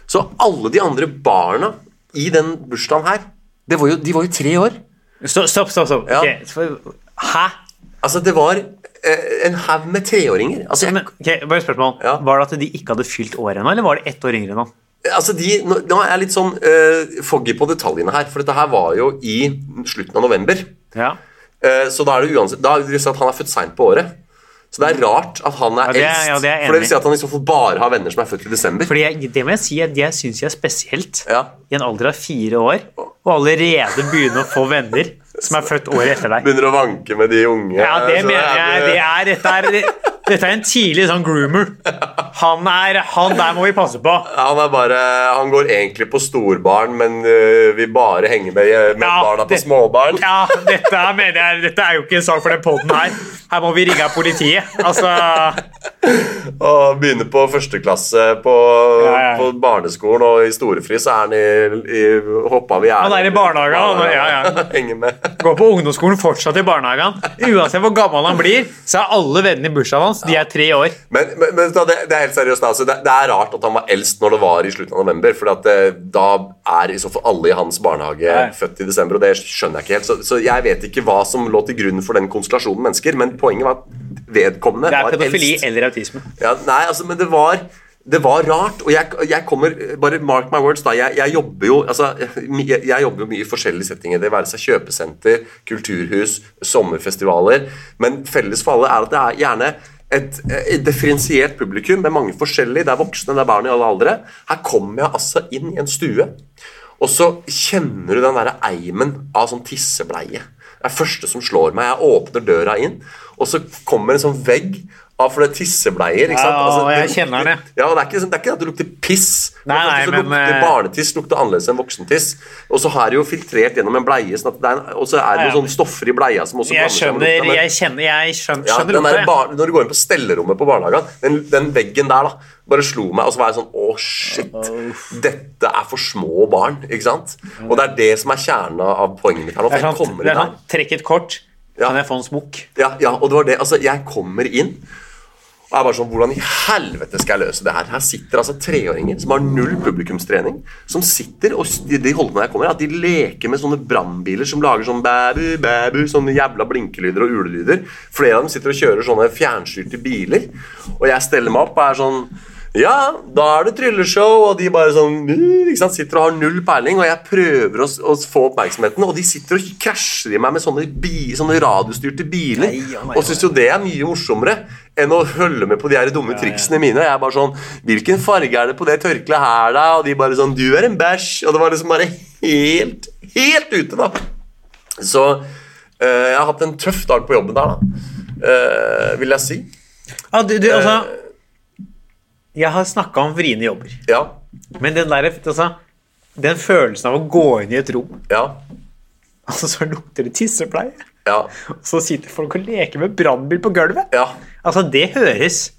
Speaker 2: Så alle de andre barna i den bursdagen her, det var jo, de var jo tre år.
Speaker 3: Stopp, stopp, stopp. stopp.
Speaker 2: Ja.
Speaker 3: Ok, for- Hæ?
Speaker 2: Altså, det var eh, en haug med treåringer. Altså, jeg,
Speaker 3: Men, ok, bare et spørsmål.
Speaker 2: Ja.
Speaker 3: Var det at de ikke hadde fylt året ennå, eller var det ett år yngre enn han?
Speaker 2: altså de, nå, nå er jeg litt sånn eh, foggy på detaljene her, for dette her var jo i slutten av november.
Speaker 3: Ja.
Speaker 2: Eh, så da er det uansett Da er det si at han er født seint på året. Så det er rart at han er
Speaker 3: det er-
Speaker 2: eldst.
Speaker 3: ja, det er jeg
Speaker 2: for det
Speaker 3: enig i.
Speaker 2: vil si at han i så fall bare har venner som er født i desember.
Speaker 3: Fordi jeg, det må jeg si, at jeg syns jeg er spesielt.
Speaker 2: Ja.
Speaker 3: I en alder av fire år, og allerede begynne å få venner som er født året etter deg.
Speaker 2: Begynner å vanke med de unge.
Speaker 3: Ja, det
Speaker 2: Så
Speaker 3: mener jeg. Det
Speaker 2: er-
Speaker 3: er, dette, er, dette er en tidlig sånn groomer. Han, er, han der må vi passe på.
Speaker 2: Han er bare Han går egentlig på storbarn, men øh, vil bare henge med, med
Speaker 3: Ja,
Speaker 2: barna på
Speaker 3: det-
Speaker 2: småbarn.
Speaker 3: Ja, dette er, mener jeg, dette er jo ikke en sak for den poden her. Her må vi ringe av politiet. Altså,
Speaker 2: Og begynner på førsteklasse på,
Speaker 3: ja, ja.
Speaker 2: på barneskolen, og i storefri så er han i, i hoppa vi er
Speaker 3: Han er i barnehagen, han er- ja, ja.
Speaker 2: Henger med.
Speaker 3: Gå på ungdomsskolen, fortsatt i barnehagen. Uansett hvor gammel han blir, så er alle vennene i bursdagen hans de er tre år.
Speaker 2: Men, men, men da, det, det er helt seriøst, altså. Det, det er rart at han var eldst når det var i slutten av november. For at, eh, da er i så fall alle i hans barnehage
Speaker 3: Nei.
Speaker 2: født i desember, og det skjønner jeg ikke helt. Så, så jeg vet ikke hva som lå til grunn for den konstellasjonen mennesker, men poenget var at vedkommende
Speaker 3: Det er
Speaker 2: var
Speaker 3: pedofili
Speaker 2: eldst.
Speaker 3: eller autisme.
Speaker 2: Ja, nei, altså, men det var det var rart, og jeg, jeg kommer Bare mark my words, da. Jeg, jeg jobber jo altså, jeg, jeg jobber jo mye i forskjellige settinger. Det være seg kjøpesenter, kulturhus, sommerfestivaler. Men felles for alle er at det er gjerne et, eh, differensiert publikum med mange forskjellige. Det er voksne, det er barn i alle aldre. Her kommer jeg altså inn i en stue, og så kjenner du den derre eimen av sånn tissebleie. Det er første som slår meg. Jeg åpner døra inn, og så kommer en sånn vegg av for det er tissebleier. ikke sant? Altså,
Speaker 3: Ja, jeg
Speaker 2: det
Speaker 3: kjenner den, jeg.
Speaker 2: ja, og det er, ikke, sånn- det er ikke at det lukter piss.
Speaker 3: Nei,
Speaker 2: Men
Speaker 3: nei,
Speaker 2: så
Speaker 3: men,
Speaker 2: lukter
Speaker 3: eh,
Speaker 2: Barnetiss lukter annerledes enn voksentiss. Og så har det jo filtrert gjennom en bleie, sånn at det er en, og så er det
Speaker 3: Ja, ja.
Speaker 2: noen sånne stoffer i bleia som også blander seg
Speaker 3: Jeg
Speaker 2: med
Speaker 3: skjønner,
Speaker 2: lukta, men-
Speaker 3: jeg kjenner, jeg skjønner,
Speaker 2: ja,
Speaker 3: skjønner
Speaker 2: den der
Speaker 3: lukta. jeg.
Speaker 2: bar, når du går inn på stellerommet på barnehagen, den, den veggen der da, bare slo meg, og så var jeg sånn Å, shit. Dette er for små barn, ikke sant? Og det er det som er kjernen av poenget mitt her nå.
Speaker 3: Det
Speaker 2: For
Speaker 3: er
Speaker 2: jeg
Speaker 3: sånn,
Speaker 2: kommer
Speaker 3: det er
Speaker 2: inn
Speaker 3: sånn
Speaker 2: her.
Speaker 3: trekk et kort,
Speaker 2: Ja.
Speaker 3: kan jeg få en smokk?
Speaker 2: Ja, ja, og det var det. Altså, jeg kommer inn. Og jeg er bare sånn, Hvordan i helvete skal jeg løse det her? Her sitter altså treåringer som har null publikumstrening. Som sitter og s- de, de holder på når jeg kommer, at de leker med sånne brannbiler som lager sånn bæbu, bæbu, sånne jævla blinkelyder og ulelyder. Flere av dem sitter og kjører sånne fjernstyrte biler. Og jeg steller meg opp og er sånn ja, da er det trylleshow, og de bare sånn "Uh," ikke sant, Sitter og har null peiling, og jeg prøver å, s- å få oppmerksomheten, og de sitter og krasjer i meg med sånne, bi, sånne radiostyrte biler.
Speaker 3: Nei, ja, nei,
Speaker 2: og syns jo det er mye morsommere enn å følge med på de her dumme triksene mine. Jeg er bare sånn Hvilken farge er det på det tørkleet her, da? Og de bare sånn Du er en bæsj. Og det var liksom bare helt, helt ute, da. Så eh, jeg har hatt en tøff dag på jobben der, da. eh, vil jeg si.
Speaker 3: Ja, du, du, altså, jeg har snakka om vriene jobber,
Speaker 2: Ja.
Speaker 3: men den, der, altså, den følelsen av å gå inn i et rom,
Speaker 2: Ja.
Speaker 3: altså, så lukter det tissepleie,
Speaker 2: Ja.
Speaker 3: og så sitter folk og leker med brannbil på gulvet
Speaker 2: ja.
Speaker 3: Altså, det høres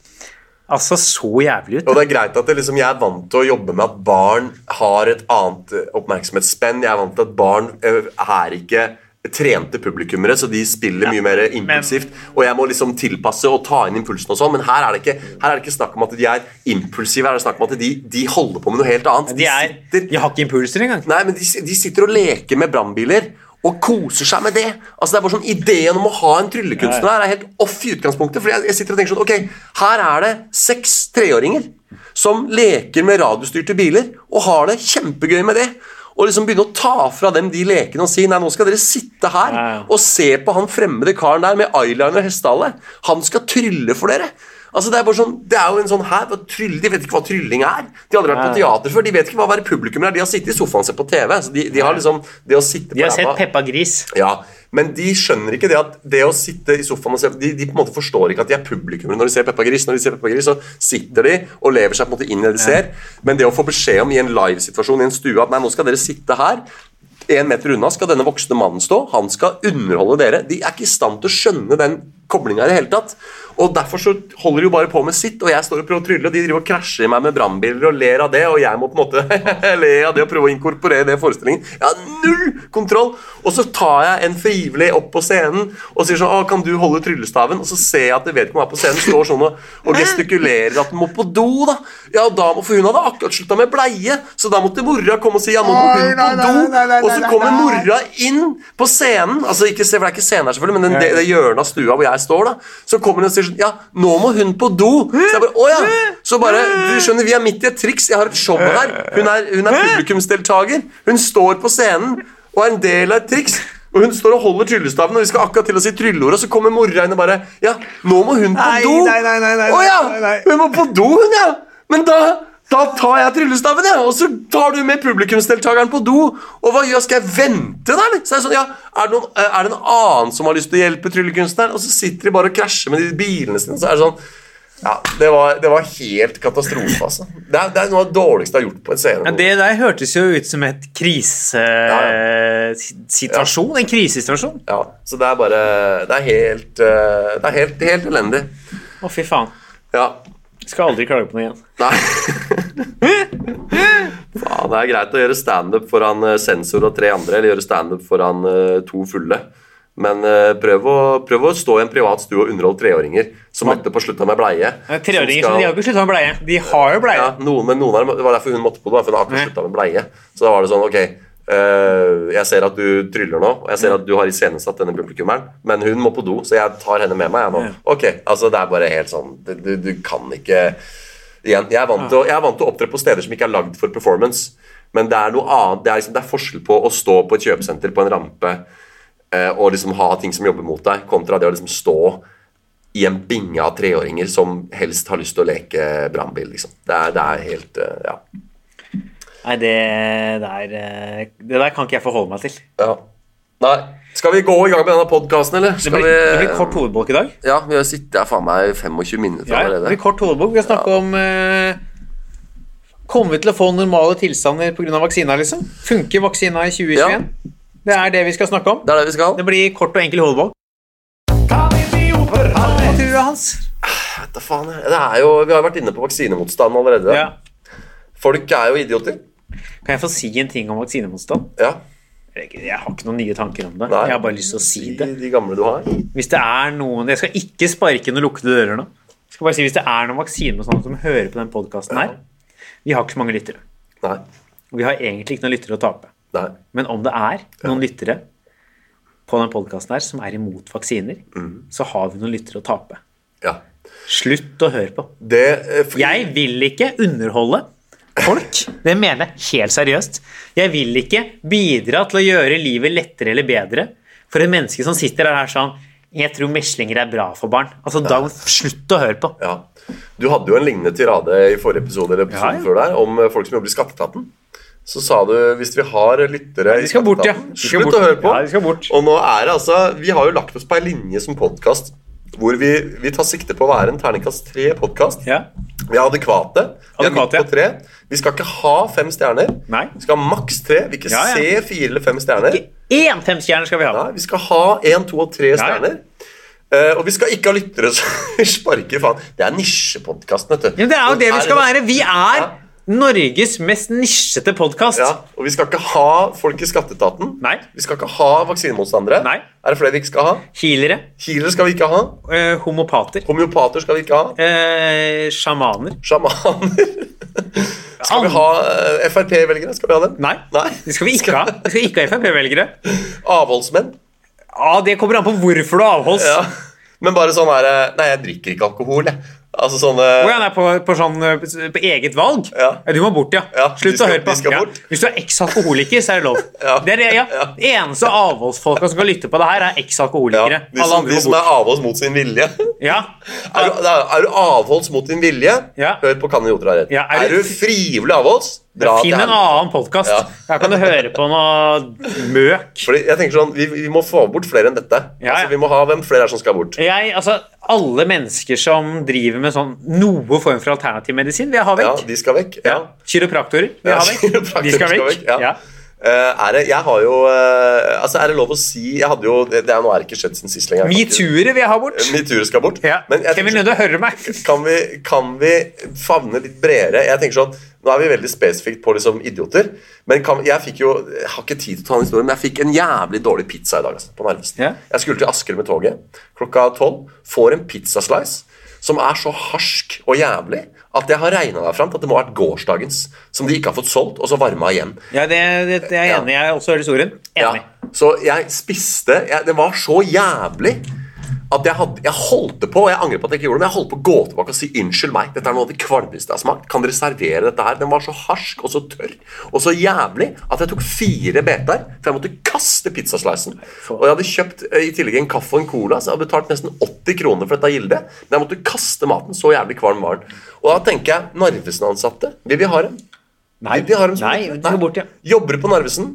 Speaker 3: altså så jævlig ut.
Speaker 2: Og det er greit at det, liksom, jeg er vant til å jobbe med at barn har et annet eh, oppmerksomhetsspenn. Jeg er vant til at barn eh, er ikke trente publikummere, så de spiller mye mer impulsivt. Og jeg må liksom tilpasse og ta inn impulsen og sånn, men her er, det ikke, her er det ikke snakk om at de er impulsive. Her er det snakk om at de, de holder på med noe helt annet.
Speaker 3: De, er,
Speaker 2: sitter
Speaker 3: de har ikke impulser engang.
Speaker 2: Nei, men de, de sitter og leker med brannbiler og koser seg med det. Altså det er bare sånn Ideen om å ha en tryllekunstner her er helt off i utgangspunktet. Fordi jeg, jeg sitter og tenker sånn Ok, her er det seks treåringer som leker med radiostyrte biler og har det kjempegøy med det. Og liksom begynne å ta fra dem de lekene og si Nei, nå skal dere sitte her
Speaker 3: Ja, ja.
Speaker 2: og se på han fremmede karen der med eyeliner og hestehale. Han skal trylle for dere. Altså Det er bare sånn, det er jo en sånn her, hva tryll, De vet ikke hva trylling er. De har aldri vært på
Speaker 3: Nei.
Speaker 2: teater før. De vet ikke hva å være publikum er. De har sittet i sofaen og sett på TV. Så de, de har liksom, det å sitte på
Speaker 3: De har sett
Speaker 2: ræva-
Speaker 3: Peppa Gris.
Speaker 2: ja, Men de skjønner ikke det at det å sitte i sofaen og se De, de på en måte forstår ikke at de er publikummere når de ser Peppa Gris. Når de ser Peppa Gris, så sitter de og lever seg på en måte inn i det de ser. Men det å få beskjed om i en livesituasjon i en stue at nei, nå skal dere sitte her en meter unna skal denne voksne mannen stå. Han skal underholde dere. De er ikke i stand til å skjønne den koblinga i det hele tatt. Og Derfor så holder de jo bare på med sitt, og jeg står og prøver å trylle, og de driver og krasjer i meg med brannbiler og ler av det, og jeg må på en måte le av det og prøve å inkorporere det i forestillingen. Jeg har null kontroll! Og så tar jeg en frivillig opp på scenen og sier sånn 'Å, kan du holde tryllestaven?' Og så ser jeg at det vedkommende er på scenen, står sånn og, og gestikulerer at den må på do, da. Ja, og da må, For hun hadde akkurat slutta med bleie, så da måtte mora komme og si 'Ja, nå må hun
Speaker 1: Oi, nei,
Speaker 2: på
Speaker 1: nei,
Speaker 2: do',
Speaker 1: nei, nei,
Speaker 2: og så
Speaker 1: nei,
Speaker 2: kommer
Speaker 1: nei.
Speaker 2: mora døra inn på scenen altså ikke, se- For det er ikke scenen her, selvfølgelig, men den, det, det hjørnet av stua hvor jeg står, da så kommer hun og sier sånn Ja, nå må hun på do! Så jeg bare Å ja! Så bare Du skjønner, vi er midt i et triks. Jeg har et show her. Hun er, hun er publikumsdeltaker. Hun står på scenen og er en del av et triks. Og hun står og holder tryllestaven, og vi skal akkurat til å si trylleord, og så kommer mora inn og bare Ja, nå må hun på
Speaker 1: Nei,
Speaker 2: do!
Speaker 1: nei, nei, nei, nei,
Speaker 2: Å ja!
Speaker 1: nei, nei.
Speaker 2: Hun må på do, hun, ja! Men da, da tar jeg tryllestaven, jeg, og så tar du med publikumsdeltakeren på do. Og hva gjør Skal jeg vente der, eller? Så er det sånn, ja, er det, noen, er det en annen som har lyst til å hjelpe tryllekunstneren? Og så sitter de bare og krasjer med de bilene sine, så er det sånn ja, det var, det var helt katastrofe, altså. Det er, det er noe av det dårligste jeg har gjort på en scene.
Speaker 3: Ja, det der hørtes jo ut som et krisesituasjon. En krisesituasjon.
Speaker 2: Ja, så det er bare Det er helt, eh, det er helt, helt elendig.
Speaker 3: Å, fy faen.
Speaker 2: Ja.
Speaker 3: Skal aldri klage på noe igjen.
Speaker 2: Nei. Faen, det er greit å gjøre standup foran eh, sensor og tre andre, eller gjøre standup foran eh, to fulle. Men eh, prøv, å, prøv å stå i en privat stue og underholde treåringer som etterpå slutta med bleie.
Speaker 3: Ja, Treåringer
Speaker 2: som
Speaker 3: som de har jo
Speaker 2: skal-
Speaker 3: ikke slutta med bleie. De har jo bleie.
Speaker 2: ja, noen, men noen av dem, Det var derfor hun måtte på det, for hun har akkurat slutta med bleie. Så da var det sånn, ok eh, jeg ser at du tryller nå, og jeg ser at du har iscenesatt denne publikummeren, men hun må på do, så jeg tar henne med meg. Jeg nå. Ok, altså Det er bare helt sånn Du, du, du kan ikke Igjen, jeg er, vant til å, jeg er vant til å opptre på steder som ikke er lagd for performance. Men det er noe annet Det er, liksom, det er forskjell på å stå på et kjøpesenter på en rampe eh, og liksom ha ting som jobber mot deg, kontra det å liksom stå i en binge av treåringer som helst har lyst til å leke brannbil. Liksom. Det, er- det er helt eh, ja.
Speaker 3: Nei, det der, eh, det der kan ikke jeg forholde meg til.
Speaker 2: ja. Nei. Skal vi gå i gang med denne podkasten, eller?
Speaker 3: Det
Speaker 2: Skal
Speaker 3: blir,
Speaker 2: vi,
Speaker 3: det blir kort hovedbolk i dag.
Speaker 2: Ja, vi har sittet her faen meg i 25 minutter
Speaker 3: Ja, det blir
Speaker 2: allerede.
Speaker 3: kort hovedbolk. Vi skal snakke om eh, Kommer vi til å få normale tilstander pga. vaksina, liksom? Funker vaksina i 2021?
Speaker 2: Ja.
Speaker 3: Det er det vi skal snakke om.
Speaker 2: Det er det vi skal.
Speaker 3: Det blir kort og enkel hovedbolk. Hva tror du, Hans?
Speaker 2: Vet da faen, jeg. det er jo, vi har vært inne på vaksinemotstand allerede.
Speaker 3: Ja.
Speaker 2: Folk er jo idioter.
Speaker 3: Kan jeg få si en ting om vaksinemotstand?
Speaker 2: Ja.
Speaker 3: Jeg jeg har ikke noen nye tanker om det.
Speaker 2: Nei.
Speaker 3: Jeg har bare lyst til å si
Speaker 2: De,
Speaker 3: det.
Speaker 2: de gamle du har.
Speaker 3: Hvis det er noen Jeg skal ikke sparke noen lukkede dører nå. Jeg skal bare si Hvis det er noen vaksiner og sånt som hører på den podkasten her Vi har ikke så mange lyttere.
Speaker 2: Nei.
Speaker 3: Og vi har egentlig ikke noen lyttere å tape.
Speaker 2: Nei.
Speaker 3: Men om det er noen lyttere på den podkasten her som er imot vaksiner, så har vi noen lyttere å tape.
Speaker 2: Ja.
Speaker 3: Slutt å høre på.
Speaker 2: Det eh, fordi-
Speaker 3: Jeg vil ikke underholde folk. Det mener jeg helt seriøst. Jeg vil ikke bidra til å gjøre livet lettere eller bedre for et menneske som sitter der her sånn Jeg tror meslinger er bra for barn. Altså, da Slutt å høre på.
Speaker 2: Ja. Du hadde jo en lignende tirade i forrige episode eller episoden
Speaker 3: Ja, ja.
Speaker 2: før der, om eh, folk som jobber i Skatteetaten. Så sa du hvis vi har lyttere
Speaker 3: de skal
Speaker 2: i
Speaker 3: bort, ja.
Speaker 2: Skatteetaten,
Speaker 3: De skal
Speaker 2: Slutt
Speaker 3: bort.
Speaker 2: å høre på.
Speaker 3: Ja, de skal bort.
Speaker 2: Og nå er det altså Vi har jo lagt oss på ei linje som podkast hvor vi, vi tar sikte på å være en terningkast tre-podkast.
Speaker 3: Ja.
Speaker 2: Vi er adekvate. Vi er
Speaker 3: Adekvate,
Speaker 2: midt på tre. Vi skal ikke ha fem stjerner.
Speaker 3: Nei.
Speaker 2: Vi skal ha maks tre. Vi ikke
Speaker 3: Ja, ja.
Speaker 2: se fire eller fem stjerner.
Speaker 3: Én femstjerne skal vi ha.
Speaker 2: Nei, vi skal ha én, to og tre stjerner. Eh, og vi skal ikke ha lyttere som sparker faen. Det er nisjepodkasten, vet du.
Speaker 3: Ja, men det er jo det vi skal være. Vi er
Speaker 2: Ja.
Speaker 3: Norges mest nisjete podkast.
Speaker 2: Ja, og vi skal ikke ha folk i skatteetaten.
Speaker 3: Nei.
Speaker 2: Vi skal ikke ha vaksinemotstandere.
Speaker 3: Nei.
Speaker 2: Er det flere vi ikke skal ha?
Speaker 3: Healere,
Speaker 2: Healere skal vi ikke ha.
Speaker 3: eh, homopater,
Speaker 2: Homeopater skal vi ikke ha.
Speaker 3: eh, sjamaner
Speaker 2: Sjamaner. Skal vi ha eh, Frp-velgere? Skal vi ha dem?
Speaker 3: Nei. Det skal vi ikke ha. Vi skal ikke ha Frp-velgere.
Speaker 2: Avholdsmenn?
Speaker 3: Ja, Det kommer an på hvorfor du avholds.
Speaker 2: Ja. Men bare sånn her eh, Nei, jeg drikker ikke alkohol, jeg. Altså sånne
Speaker 3: Hvor han er på, på, sånn, eh, på eget valg? Eh,
Speaker 2: Ja.
Speaker 3: Du må bort, ja.
Speaker 2: Ja,
Speaker 3: Slutt
Speaker 2: de
Speaker 3: å
Speaker 2: skal-
Speaker 3: høre på
Speaker 2: de skal
Speaker 3: ja.
Speaker 2: bort.
Speaker 3: Hvis du er eks-alkoholiker, så er det lov.
Speaker 2: Ja.
Speaker 3: Det er det, ja. Det eneste avholdsfolka som kan lytte på det her, er
Speaker 2: ja,
Speaker 3: eks-alkoholikere.
Speaker 2: de,
Speaker 3: Alle
Speaker 2: som,
Speaker 3: andre
Speaker 2: de
Speaker 3: må
Speaker 2: som
Speaker 3: bort.
Speaker 2: er avholds mot sin vilje.
Speaker 3: Ja.
Speaker 2: Er du, er du avholds mot din vilje,
Speaker 3: Ja.
Speaker 2: hør på Kan idioter ha rett.
Speaker 3: Ja, er
Speaker 2: er,
Speaker 3: du-
Speaker 2: du frivillig avholds, dra til
Speaker 3: Finn en
Speaker 2: helvete.
Speaker 3: annen podkast.
Speaker 2: Ja.
Speaker 3: Her kan du høre på noe møk.
Speaker 2: Fordi jeg tenker sånn, vi, vi må få bort flere enn dette.
Speaker 3: Ja, ja.
Speaker 2: Altså, vi må ha hvem flere er som skal bort.
Speaker 3: Jeg, altså, alle mennesker som driver med sånn noe form for alternativ medisin, vil jeg ha
Speaker 2: Ja,
Speaker 3: vekk.
Speaker 2: de skal vekk. Ja.
Speaker 3: Kiropraktorer vil jeg
Speaker 2: Ja,
Speaker 3: ha vekk.
Speaker 2: kiropraktorer
Speaker 3: De skal
Speaker 2: skal
Speaker 3: vekk.
Speaker 2: vekk, ja.
Speaker 3: Ja.
Speaker 2: Eh, er det, jeg har jo eh, Altså, er det lov å si Jeg hadde jo Det, det er nå er det ikke skjedd siden sist lenger.
Speaker 3: Metoo-ere vil jeg ha bort.
Speaker 2: Metoo skal bort.
Speaker 3: Ja.
Speaker 2: Men jeg
Speaker 3: Kevin
Speaker 2: tenker-
Speaker 3: Lunde, hører du meg?
Speaker 2: kan vi, kan vi favne litt bredere? Jeg tenker sånn, Nå er vi veldig spesifikt på liksom idioter. Men kan, jeg fikk jo, jeg har ikke tid til å ta en historie, men jeg fikk en jævlig dårlig pizza i dag. Altså, på Narvesen.
Speaker 3: Ja.
Speaker 2: Jeg skulle til Asker med toget klokka tolv. Får en pizzaslice som er så harsk og jævlig at jeg har regna meg fram til at det må ha vært gårsdagens. Som de ikke har fått solgt, og så varma igjen.
Speaker 3: Ja, det, det, det er jeg enig i. Jeg også hører historien.
Speaker 2: Ja.
Speaker 3: Enig.
Speaker 2: Så jeg spiste jeg, Det var så jævlig at jeg, hadde, jeg holdt det på, og jeg angrer på at jeg ikke gjorde det, men jeg holdt på å gå tilbake og si unnskyld meg, dette er noe av det kvalmeste jeg har smakt. Kan dere servere dette her? Den var så harsk og så tørr og så jævlig at jeg tok fire beter, for jeg måtte kaste pizzaslicen. Og jeg hadde kjøpt eh, i tillegg en kaffe og en cola, så jeg hadde betalt nesten 80 kroner for dette gildet. Men jeg måtte kaste maten, så jævlig kvalm var den. Og da tenker jeg, Narvesen-ansatte, vil vi ha dem?
Speaker 3: Nei,
Speaker 2: Vil vi ha dem som-
Speaker 3: nei, de skal bort, ja.
Speaker 2: Jobber du på Narvesen?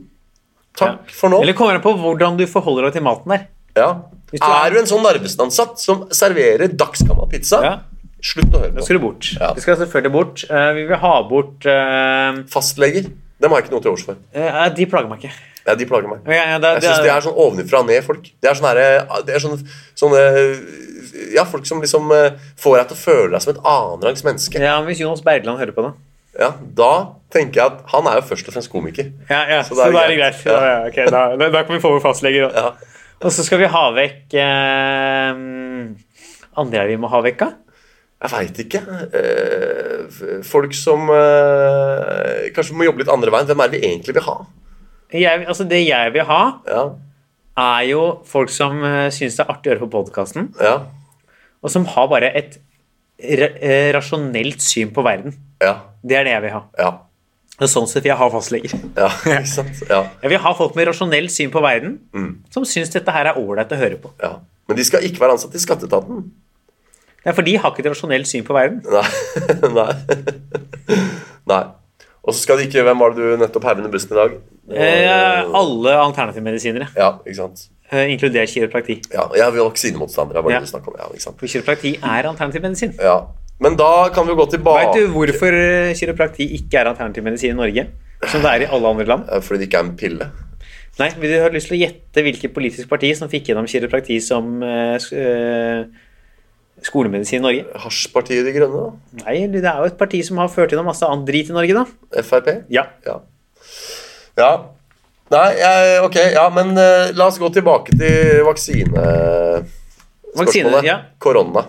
Speaker 2: Takk for nå.
Speaker 3: Eller kommer an på hvordan du forholder deg til maten der.
Speaker 2: Ja.
Speaker 3: Hvis du er-
Speaker 2: Er du en sånn Narvesen-ansatt som serverer dagsgammal pizza,
Speaker 3: Ja.
Speaker 2: slutt å høre
Speaker 3: Da
Speaker 2: på.
Speaker 3: skal du bort.
Speaker 2: Ja.
Speaker 3: Du skal selvfølgelig bort. Eh, vi vil ha bort eh,
Speaker 2: Fastleger. Dem har jeg ikke noe til overs for.
Speaker 3: eh, De plager meg ikke.
Speaker 2: Ja, de plager meg.
Speaker 3: Ja, ja, det,
Speaker 2: Jeg synes det er sånn ovenfra og ned-folk. Det er sånn herre- det er sånn, sånne Ja, folk som liksom eh, får deg til å føle deg som et annenrangs menneske.
Speaker 3: ja, men Hvis Jonas Bergland hører på det
Speaker 2: Ja, da tenker jeg at han er jo først og fremst komiker.
Speaker 3: Ja, ja, så,
Speaker 2: da
Speaker 3: da
Speaker 2: er det
Speaker 3: er det greit.
Speaker 2: greit. Ja.
Speaker 3: Ja, ja, ok, da, da, da kan vi få vår fastlege, da.
Speaker 2: Ja.
Speaker 3: Og så skal vi ha vekk eh, Andre er vi må ha vekk, da?
Speaker 2: Jeg veit ikke. eh, f- folk som eh, kanskje må jobbe litt andre veien. Hvem er det vi egentlig vil ha?
Speaker 3: Jeg, altså det jeg vil ha,
Speaker 2: Ja,
Speaker 3: er jo folk som uh, syns det er artig å høre på podkasten,
Speaker 2: ja,
Speaker 3: og som har bare et ra eh, rasjonelt syn på verden.
Speaker 2: ja.
Speaker 3: Det er det jeg vil ha.
Speaker 2: ja.
Speaker 3: Og sånn sett vil jeg ha fastleger.
Speaker 2: Ja, ikke sant? Ja,
Speaker 3: Jeg vil ha folk med rasjonelt syn på verden, som syns dette her er ålreit å høre på.
Speaker 2: ja. Men de skal ikke være ansatt i skatteetaten.
Speaker 3: Det er for de har ikke et rasjonelt syn på verden.
Speaker 2: Nei. Nei. Nei. Og så skal de ikke Hvem var det du nettopp heiv under bussen i dag?
Speaker 3: Eh, alle alternativmedisinere,
Speaker 2: Ja, ikke sant.
Speaker 3: eh, inkludert kiroprakti.
Speaker 2: Ja, jeg er jo vaksinemotstander. Jeg var
Speaker 3: Ja.
Speaker 2: det du snakket om. Ja, ikke sant?
Speaker 3: For kiroprakti er alternativmedisin.
Speaker 2: Ja. Men da kan vi jo gå tilbake
Speaker 3: Vet du hvorfor eh, kiroprakti ikke er alternativmedisin i Norge, som det er i alle andre land?
Speaker 2: Eh, Fordi det ikke er en pille.
Speaker 3: Nei, vil du ha lyst til å gjette hvilket politisk parti som fikk gjennom kiroprakti som eh, sk- eh, skolemedisin i Norge?
Speaker 2: Hasjpartiet De Grønne, da?
Speaker 3: Nei, det er jo et parti som har ført gjennom masse annet drit i Norge, da.
Speaker 2: Frp?
Speaker 3: Ja.
Speaker 2: Ja. ja. Nei, jeg, ok. Ja, men eh, la oss gå tilbake til vaksine...
Speaker 3: Vaksine,
Speaker 2: Spørsmålet.
Speaker 3: ja.
Speaker 2: Korona.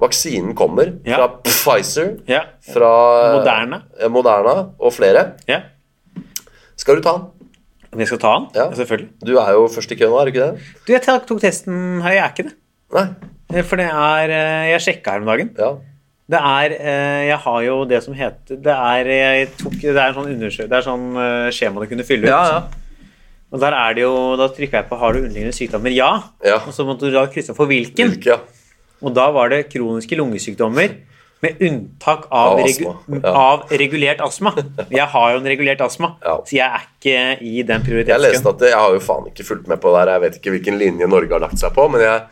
Speaker 2: Vaksinen kommer
Speaker 3: Ja.
Speaker 2: fra Pfizer,
Speaker 3: ja.
Speaker 2: fra
Speaker 3: Moderna.
Speaker 2: eh, Moderna og flere.
Speaker 3: ja.
Speaker 2: Skal du ta den?
Speaker 3: Om jeg skal ta den?
Speaker 2: Ja.
Speaker 3: Ja, selvfølgelig.
Speaker 2: Du er jo først i køen nå, er du ikke det?
Speaker 3: Du, jeg tok tok testen her, jeg er ikke det.
Speaker 2: Nei?
Speaker 3: Eh, For det er eh, Jeg sjekka her om dagen.
Speaker 2: Ja.
Speaker 3: Det er eh, Jeg har jo det som heter Det er jeg tok, Det er en sånn undersø... Det er sånn eh, skjema du kunne fylle ut. Og der er det jo Da trykka jeg på 'Har du underliggende sykdommer?' Ja.
Speaker 2: Ja.
Speaker 3: Og så måtte du da krysse for hvilken.
Speaker 2: Hvilke, ja.
Speaker 3: Og da var det kroniske lungesykdommer med unntak av,
Speaker 2: Av
Speaker 3: regu
Speaker 2: astma, ja.
Speaker 3: av regulert astma. Jeg har jo en regulert astma,
Speaker 2: Ja.
Speaker 3: så jeg er ikke i den
Speaker 2: Jeg leste
Speaker 3: prioriteten.
Speaker 2: at det, jeg har jo faen ikke fulgt med på det her. Jeg vet ikke hvilken linje Norge har lagt seg på, men jeg,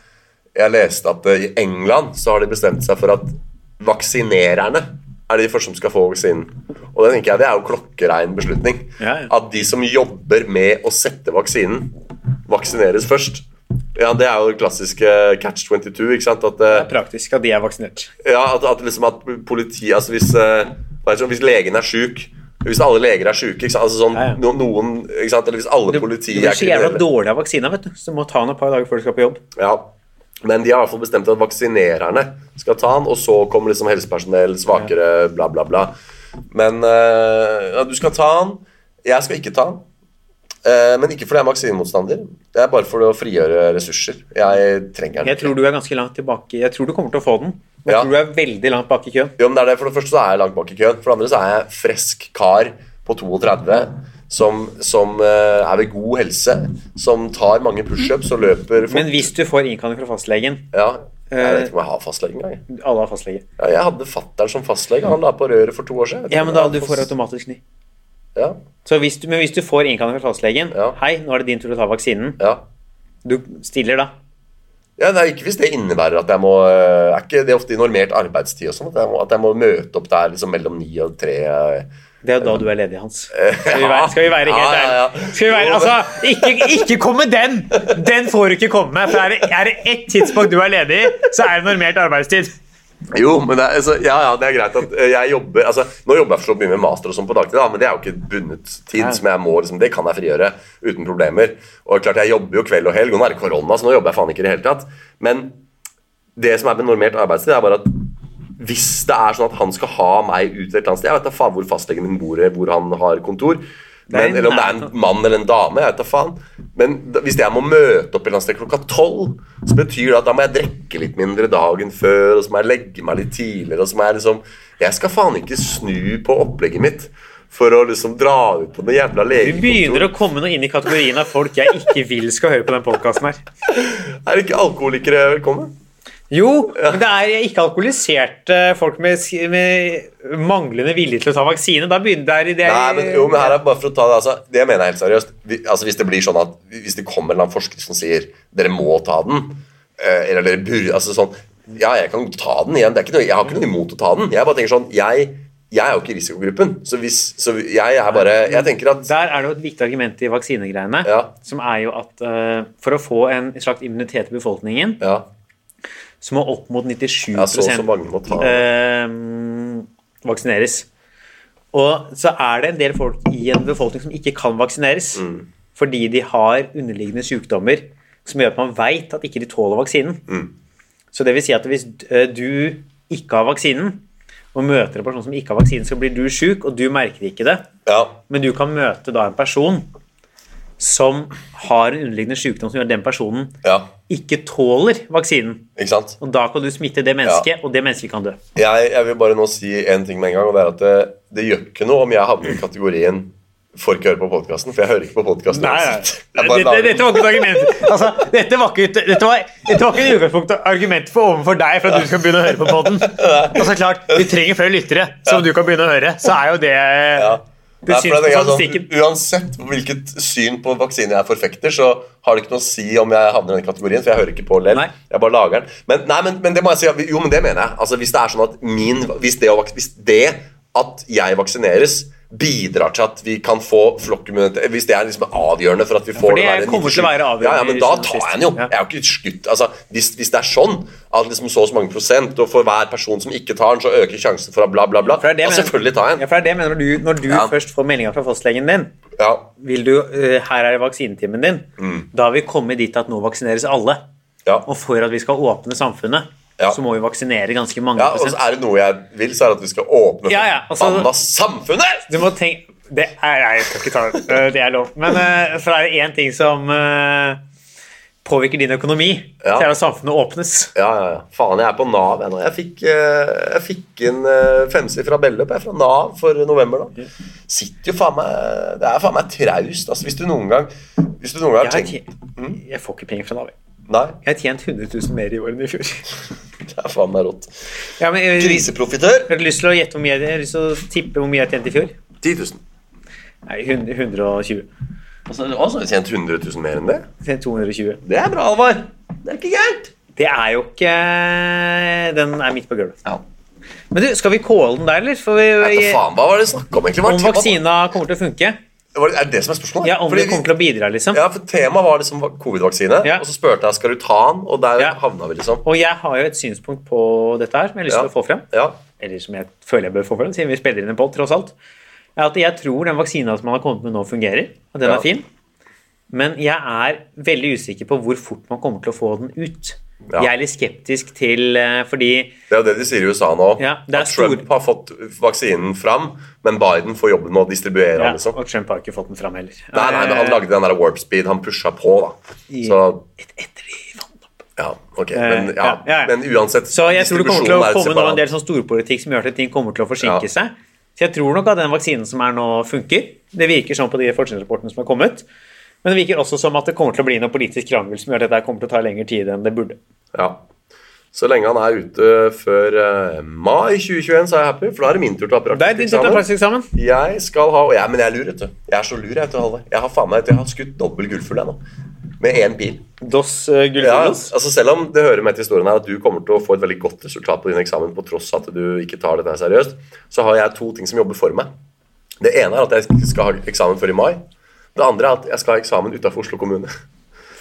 Speaker 2: jeg leste at eh, i England så har de bestemt seg for at vaksinererne er de første som skal få vaksinen. Og det tenker jeg det er jo klokkerein beslutning.
Speaker 3: Ja, ja.
Speaker 2: At de som jobber med å sette vaksinen, vaksineres først. Ja, Det er jo det klassiske catch 22. ikke sant? At, eh,
Speaker 3: Det er praktisk at de er vaksinert.
Speaker 2: ja, at, at, liksom at politi, altså hvis, eh, hva er det sånn, hvis legen er syk hvis alle leger er syke, ikke sant? Altså sånn,
Speaker 3: Ja, ja.
Speaker 2: no- noen, ikke sant? eller hvis alle politi
Speaker 3: Du
Speaker 2: er
Speaker 3: blir så jævla
Speaker 2: kriminelle.
Speaker 3: dårlig av vaksina, vet du, så du må ta den et par dager før du skal på jobb.
Speaker 2: Ja. Men de har i hvert fall bestemt at vaksinererne skal ta den, og så kommer liksom helsepersonell, svakere, bla, bla, bla. Men eh, ja, du skal ta den. Jeg skal ikke ta den. Eh, Men ikke fordi jeg er Maxine-motstander. Det er bare for å frigjøre ressurser. Jeg trenger den.
Speaker 3: Jeg tror du er ganske langt tilbake. Jeg tror du kommer til å få den. Men Jeg
Speaker 2: Ja.
Speaker 3: tror du er veldig langt bak i køen.
Speaker 2: Jo, men det er det. For det første så er jeg langt bak i køen. For det andre så er jeg frisk kar på 32 som, som eh, er ved god helse, som tar mange pushups og løper fort.
Speaker 3: Men hvis Eh. du får innkalling fra fastlegen
Speaker 2: ja, Jeg vet ikke om jeg har fastlege engang. jeg.
Speaker 3: Alle har fastlege.
Speaker 2: Ja, jeg hadde fatter'n som fastlege. Han la på røret for to år siden. Jeg vet
Speaker 3: Ja,
Speaker 2: ikke
Speaker 3: men
Speaker 2: om
Speaker 3: da du
Speaker 2: jeg har
Speaker 3: får
Speaker 2: fast-
Speaker 3: automatisk ny.
Speaker 2: ja,
Speaker 3: Så hvis du, men hvis du får innkalling fra fastlegen
Speaker 2: Ja.
Speaker 3: Hei, nå er det din tur å ta vaksinen.
Speaker 2: ja.
Speaker 3: Du stiller da.
Speaker 2: Ja, det er ikke hvis det innebærer at jeg må øh, Er ikke det ofte i normert arbeidstid og sånn? At, jeg må- at jeg må møte opp der liksom mellom ni og tre øh.
Speaker 3: Det er jo da du er ledig, Hans. Skal vi være, skal vi være helt
Speaker 2: Ja, ja, ja.
Speaker 3: ærlige? Skal vi være, altså, ikke, ikke kom med den! Den får du ikke komme med. For er det, er det ett tidspunkt du er ledig, så er det normert arbeidstid.
Speaker 2: Jo, men det er, altså, ja, ja, det er greit at øh, jeg jobber altså, Nå jobber jeg for så vidt mye med master og sånn på dagtid, da, men det er jo ikke bundet tid. som jeg må, liksom, Det kan jeg frigjøre uten problemer. Og klart, Jeg jobber jo kveld og helg, og nå er det korona, så nå jobber jeg faen ikke i det hele tatt. Men det som er med normert arbeidstid, er bare at hvis det er sånn at han skal ha meg ut et eller annet sted Jeg vet da faen hvor fastlegen min bor, hvor han har kontor.
Speaker 3: er
Speaker 2: Men, eller om det er en mann eller en dame. Jeg vet da faen. Men da, hvis jeg må møte opp et eller annet sted klokka tolv, så betyr det at da må jeg drikke litt mindre dagen før, og så må jeg legge meg litt tidligere, og så må jeg liksom Jeg skal faen ikke snu på opplegget mitt for å liksom dra ut på noe jævla
Speaker 3: Vi
Speaker 2: legekontor.
Speaker 3: begynner å komme nå inn i kategorien av folk jeg ikke vil skal høre på den podkasten her.
Speaker 2: Er ikke alkoholikere velkommen?
Speaker 3: Jo, men det er ikke-alkoholiserte folk med, s- med manglende vilje til å ta vaksine. Da begynner det er, det er,
Speaker 2: Nei, men, jo, men her er bare for å ta Det altså, Det mener jeg helt seriøst. Vi, altså, hvis det blir sånn at Hvis det kommer en eller annen forsker som sier dere må ta den, eh, eller dere burde altså, sånn, Ja, jeg kan ta den igjen. Det er ikke noe, jeg har ikke noe imot å ta den. Jeg bare tenker sånn Jeg, jeg er jo ikke i risikogruppen. Så, hvis, så jeg er bare Jeg tenker at
Speaker 3: Der er det jo et viktig argument i vaksinegreiene,
Speaker 2: Ja.
Speaker 3: som er jo at eh, for å få en slags immunitet i befolkningen,
Speaker 2: Ja,
Speaker 3: så må opp mot 97
Speaker 2: ja så og så mange må ta den.
Speaker 3: eh, vaksineres. Og så er det en del folk i en befolkning som ikke kan vaksineres
Speaker 2: Mm.
Speaker 3: fordi de har underliggende sykdommer som gjør at man veit at ikke de tåler vaksinen.
Speaker 2: Mm.
Speaker 3: Så det vil si at hvis eh, du ikke har vaksinen, og møter en person som ikke har vaksinen, så blir du sjuk, og du merker ikke det.
Speaker 2: Ja,
Speaker 3: Men du kan møte da en person som har en underliggende sykdom som gjør at den personen
Speaker 2: ja,
Speaker 3: ikke tåler vaksinen.
Speaker 2: ikke sant?
Speaker 3: Og da kan du smitte det mennesket, og det mennesket kan dø.
Speaker 2: jeg, jeg vil bare nå si en ting med en gang, og det er at det, det gjør ikke noe om jeg havner i kategorien får ikke høre på podkasten, for jeg hører ikke på podkasten.
Speaker 3: Dette, dette var ikke et argument altså, dette, var ikke, et- dette, var, dette var ikke et utgangspunkt og argument for overfor deg for at du skal begynne å høre på podden. Og så klart, Vi trenger flere lyttere som du kan begynne å høre. Så er jo det sånn, Det syns på
Speaker 2: sånn-
Speaker 3: statistikken.
Speaker 2: uansett hvilket syn på vaksine jeg forfekter, så har det ikke noe å si om jeg havner i den kategorien, for jeg hører ikke på lell.
Speaker 3: Nei.
Speaker 2: Jeg bare lager den. Men, nei, men, men det må jeg si. at vi- Jo, men det mener jeg. Altså, hvis det er sånn at min Hvis det, å vaks- hvis det at jeg vaksineres bidrar til at vi kan få flokkimmunitet Hvis det er liksom avgjørende for at vi får
Speaker 3: det
Speaker 2: den der
Speaker 3: kommer til
Speaker 2: 97
Speaker 3: å være avgjørende
Speaker 2: Ja, ja, men da
Speaker 3: i
Speaker 2: tar
Speaker 3: siste-
Speaker 2: jeg den jo.
Speaker 3: Ja.
Speaker 2: Jeg er jo ikke skutt. Altså, hvis, hvis det er sånn at liksom så og så mange prosent, og for hver person som ikke tar den, så øker sjansen for at bla, bla, bla.
Speaker 3: For det er det
Speaker 2: Ja,
Speaker 3: jeg mener.
Speaker 2: selvfølgelig tar jeg
Speaker 3: Ja,
Speaker 2: den.
Speaker 3: for det er det jeg mener når du, når du
Speaker 2: Ja.
Speaker 3: først får meldinga fra fastlegen din.
Speaker 2: Ja.
Speaker 3: Vil du, eh, her er vaksinetimen din.
Speaker 2: Mm.
Speaker 3: Da har vi kommet dit at nå vaksineres alle.
Speaker 2: Ja.
Speaker 3: Og for at vi skal åpne samfunnet,
Speaker 2: Ja.
Speaker 3: så må vi vaksinere ganske mange
Speaker 2: Ja, og så
Speaker 3: prosent.
Speaker 2: er det noe jeg vil, så er det at vi skal åpne
Speaker 3: Ja, ja, altså-
Speaker 2: forbanna samfunnet!
Speaker 3: Du må tenke det er, Nei, jeg skal ikke ta det. Eh, Det er lov. Men eh, så er det én ting som eh, påvirker din økonomi.
Speaker 2: Ja.
Speaker 3: Det er at samfunnet åpnes.
Speaker 2: Ja, ja, ja. Faen, jeg er på Nav jeg nå. Jeg fikk, eh, jeg fikk en eh, femsifra beløp jeg, fra Nav for november. da. Sitter jo faen meg Det er faen meg traust. Altså, hvis du noen gang Hvis du noen gang har
Speaker 3: Jeg, har
Speaker 2: tenkt
Speaker 3: tjent,
Speaker 2: Mm.
Speaker 3: jeg får ikke penger fra Nav. jeg.
Speaker 2: Nei,
Speaker 3: Jeg har tjent 100 000 mer i år enn i fjor.
Speaker 2: det er faen meg rått.
Speaker 3: Ja, men, jeg, jeg,
Speaker 2: Kriseprofitør.
Speaker 3: har lyst til å gjette hvor mye jeg, jeg har lyst til å tippe hvor mye jeg tjente i fjor.
Speaker 2: 10 000.
Speaker 3: Nei, 100, 120.
Speaker 2: Og så har du tjent 100 000 mer enn det.
Speaker 3: Jeg tjente 220.
Speaker 2: Det er bra, Alvar. Det er ikke gærent.
Speaker 3: Det er jo ikke eh, Den er midt på gulvet.
Speaker 2: Ja.
Speaker 3: Men du, skal vi calle den der, eller? For
Speaker 2: Vet du
Speaker 3: vi,
Speaker 2: faen, hva var det snakk om egentlig? Var
Speaker 3: om
Speaker 2: tema-
Speaker 3: vaksina kommer til å funke?
Speaker 2: Var det, er det det som er spørsmålet?
Speaker 3: Ja, om
Speaker 2: Fordi
Speaker 3: det kommer til å bidra, liksom?
Speaker 2: vi- ja, for Temaet var liksom covid-vaksine,
Speaker 3: Ja.
Speaker 2: og så spurte jeg skal du ta den, og der
Speaker 3: Ja.
Speaker 2: havna vi liksom.
Speaker 3: Og jeg har jo et synspunkt på dette her, som jeg har lyst til
Speaker 2: Ja.
Speaker 3: å få frem.
Speaker 2: Ja,
Speaker 3: Eller som jeg føler jeg bør få frem, siden vi spiller inn en podd, tross alt. Er at jeg tror den vaksina som man har kommet med nå, fungerer. At den
Speaker 2: Ja.
Speaker 3: er fin. Men jeg er veldig usikker på hvor fort man kommer til å få den ut.
Speaker 2: Ja.
Speaker 3: Jeg er litt skeptisk til eh, Fordi
Speaker 2: Det er jo det de sier i USA nå.
Speaker 3: Ja, det er
Speaker 2: at Trump
Speaker 3: stor-
Speaker 2: har fått vaksinen fram, men Biden får jobben med å distribuere
Speaker 3: ja,
Speaker 2: den. liksom.
Speaker 3: Og Trump har ikke fått den fram heller. Eh,
Speaker 2: Nei, nei, men Han lagde den der warp speed, han pusha på, da.
Speaker 3: I-
Speaker 2: Så
Speaker 3: Et, etter de vant opp.
Speaker 2: ja, ok. Men, ja,
Speaker 3: ja, ja.
Speaker 2: men uansett,
Speaker 3: Så jeg tror det kommer til
Speaker 2: distribusjonen
Speaker 3: å
Speaker 2: er et
Speaker 3: komme nå en
Speaker 2: separat.
Speaker 3: del sånn storpolitikk som gjør at ting kommer til å
Speaker 2: Ja.
Speaker 3: forsinke seg. Så jeg tror nok at den vaksinen som er nå, funker. Det virker sånn på de forskningsrapportene som er kommet. Men det virker også som at det kommer til å bli noe politisk krangel som gjør at dette kommer til å ta lengre tid enn det burde.
Speaker 2: Ja. Så lenge han er ute før eh, mai 2021, så er jeg happy, for da er det min tur til å ha
Speaker 3: Det er din tur til å ha
Speaker 2: praktiseksamen.
Speaker 3: praktiseksamen.
Speaker 2: Jeg skal ha og jeg, Men jeg er lur, vet du. Jeg er så lur, jeg, vet du, Halvor. Jeg har faen meg jeg har skutt dobbel gullfugl, jeg nå. Med én pil.
Speaker 3: Dos eh,
Speaker 2: Ja,
Speaker 3: Gullfuglos.
Speaker 2: altså Selv om det hører med til historien her at du kommer til å få et veldig godt resultat på din eksamen på tross av at du ikke tar dette her seriøst, så har jeg to ting som jobber for meg. Det ene er at jeg skal ha eksamen før i mai. Det andre er at jeg skal ha eksamen utafor Oslo kommune.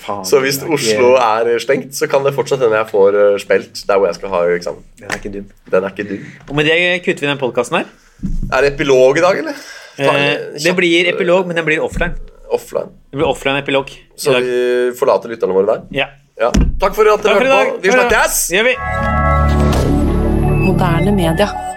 Speaker 3: Faen,
Speaker 2: Så hvis
Speaker 3: den er ikke-
Speaker 2: Oslo er eh, stengt, så kan det fortsatt hende jeg får eh, spilt der hvor jeg skal ha eksamen.
Speaker 3: Den er ikke dum.
Speaker 2: Den er ikke dum.
Speaker 3: Og med det kutter vi den podkasten her.
Speaker 2: Er det epilog i dag, eller? Ta en
Speaker 3: Eh, det
Speaker 2: kjapp,
Speaker 3: blir
Speaker 2: eh,
Speaker 3: epilog, men den blir offline.
Speaker 2: Offline.
Speaker 3: Det blir offline epilog i
Speaker 2: Så
Speaker 3: dag.
Speaker 2: vi forlater lytterne våre der.
Speaker 3: Ja.
Speaker 2: Ja. Takk for at dere
Speaker 3: Takk for i dag.
Speaker 2: hørte på. Vi snakkes!
Speaker 3: Det gjør vi.
Speaker 1: Moderne media.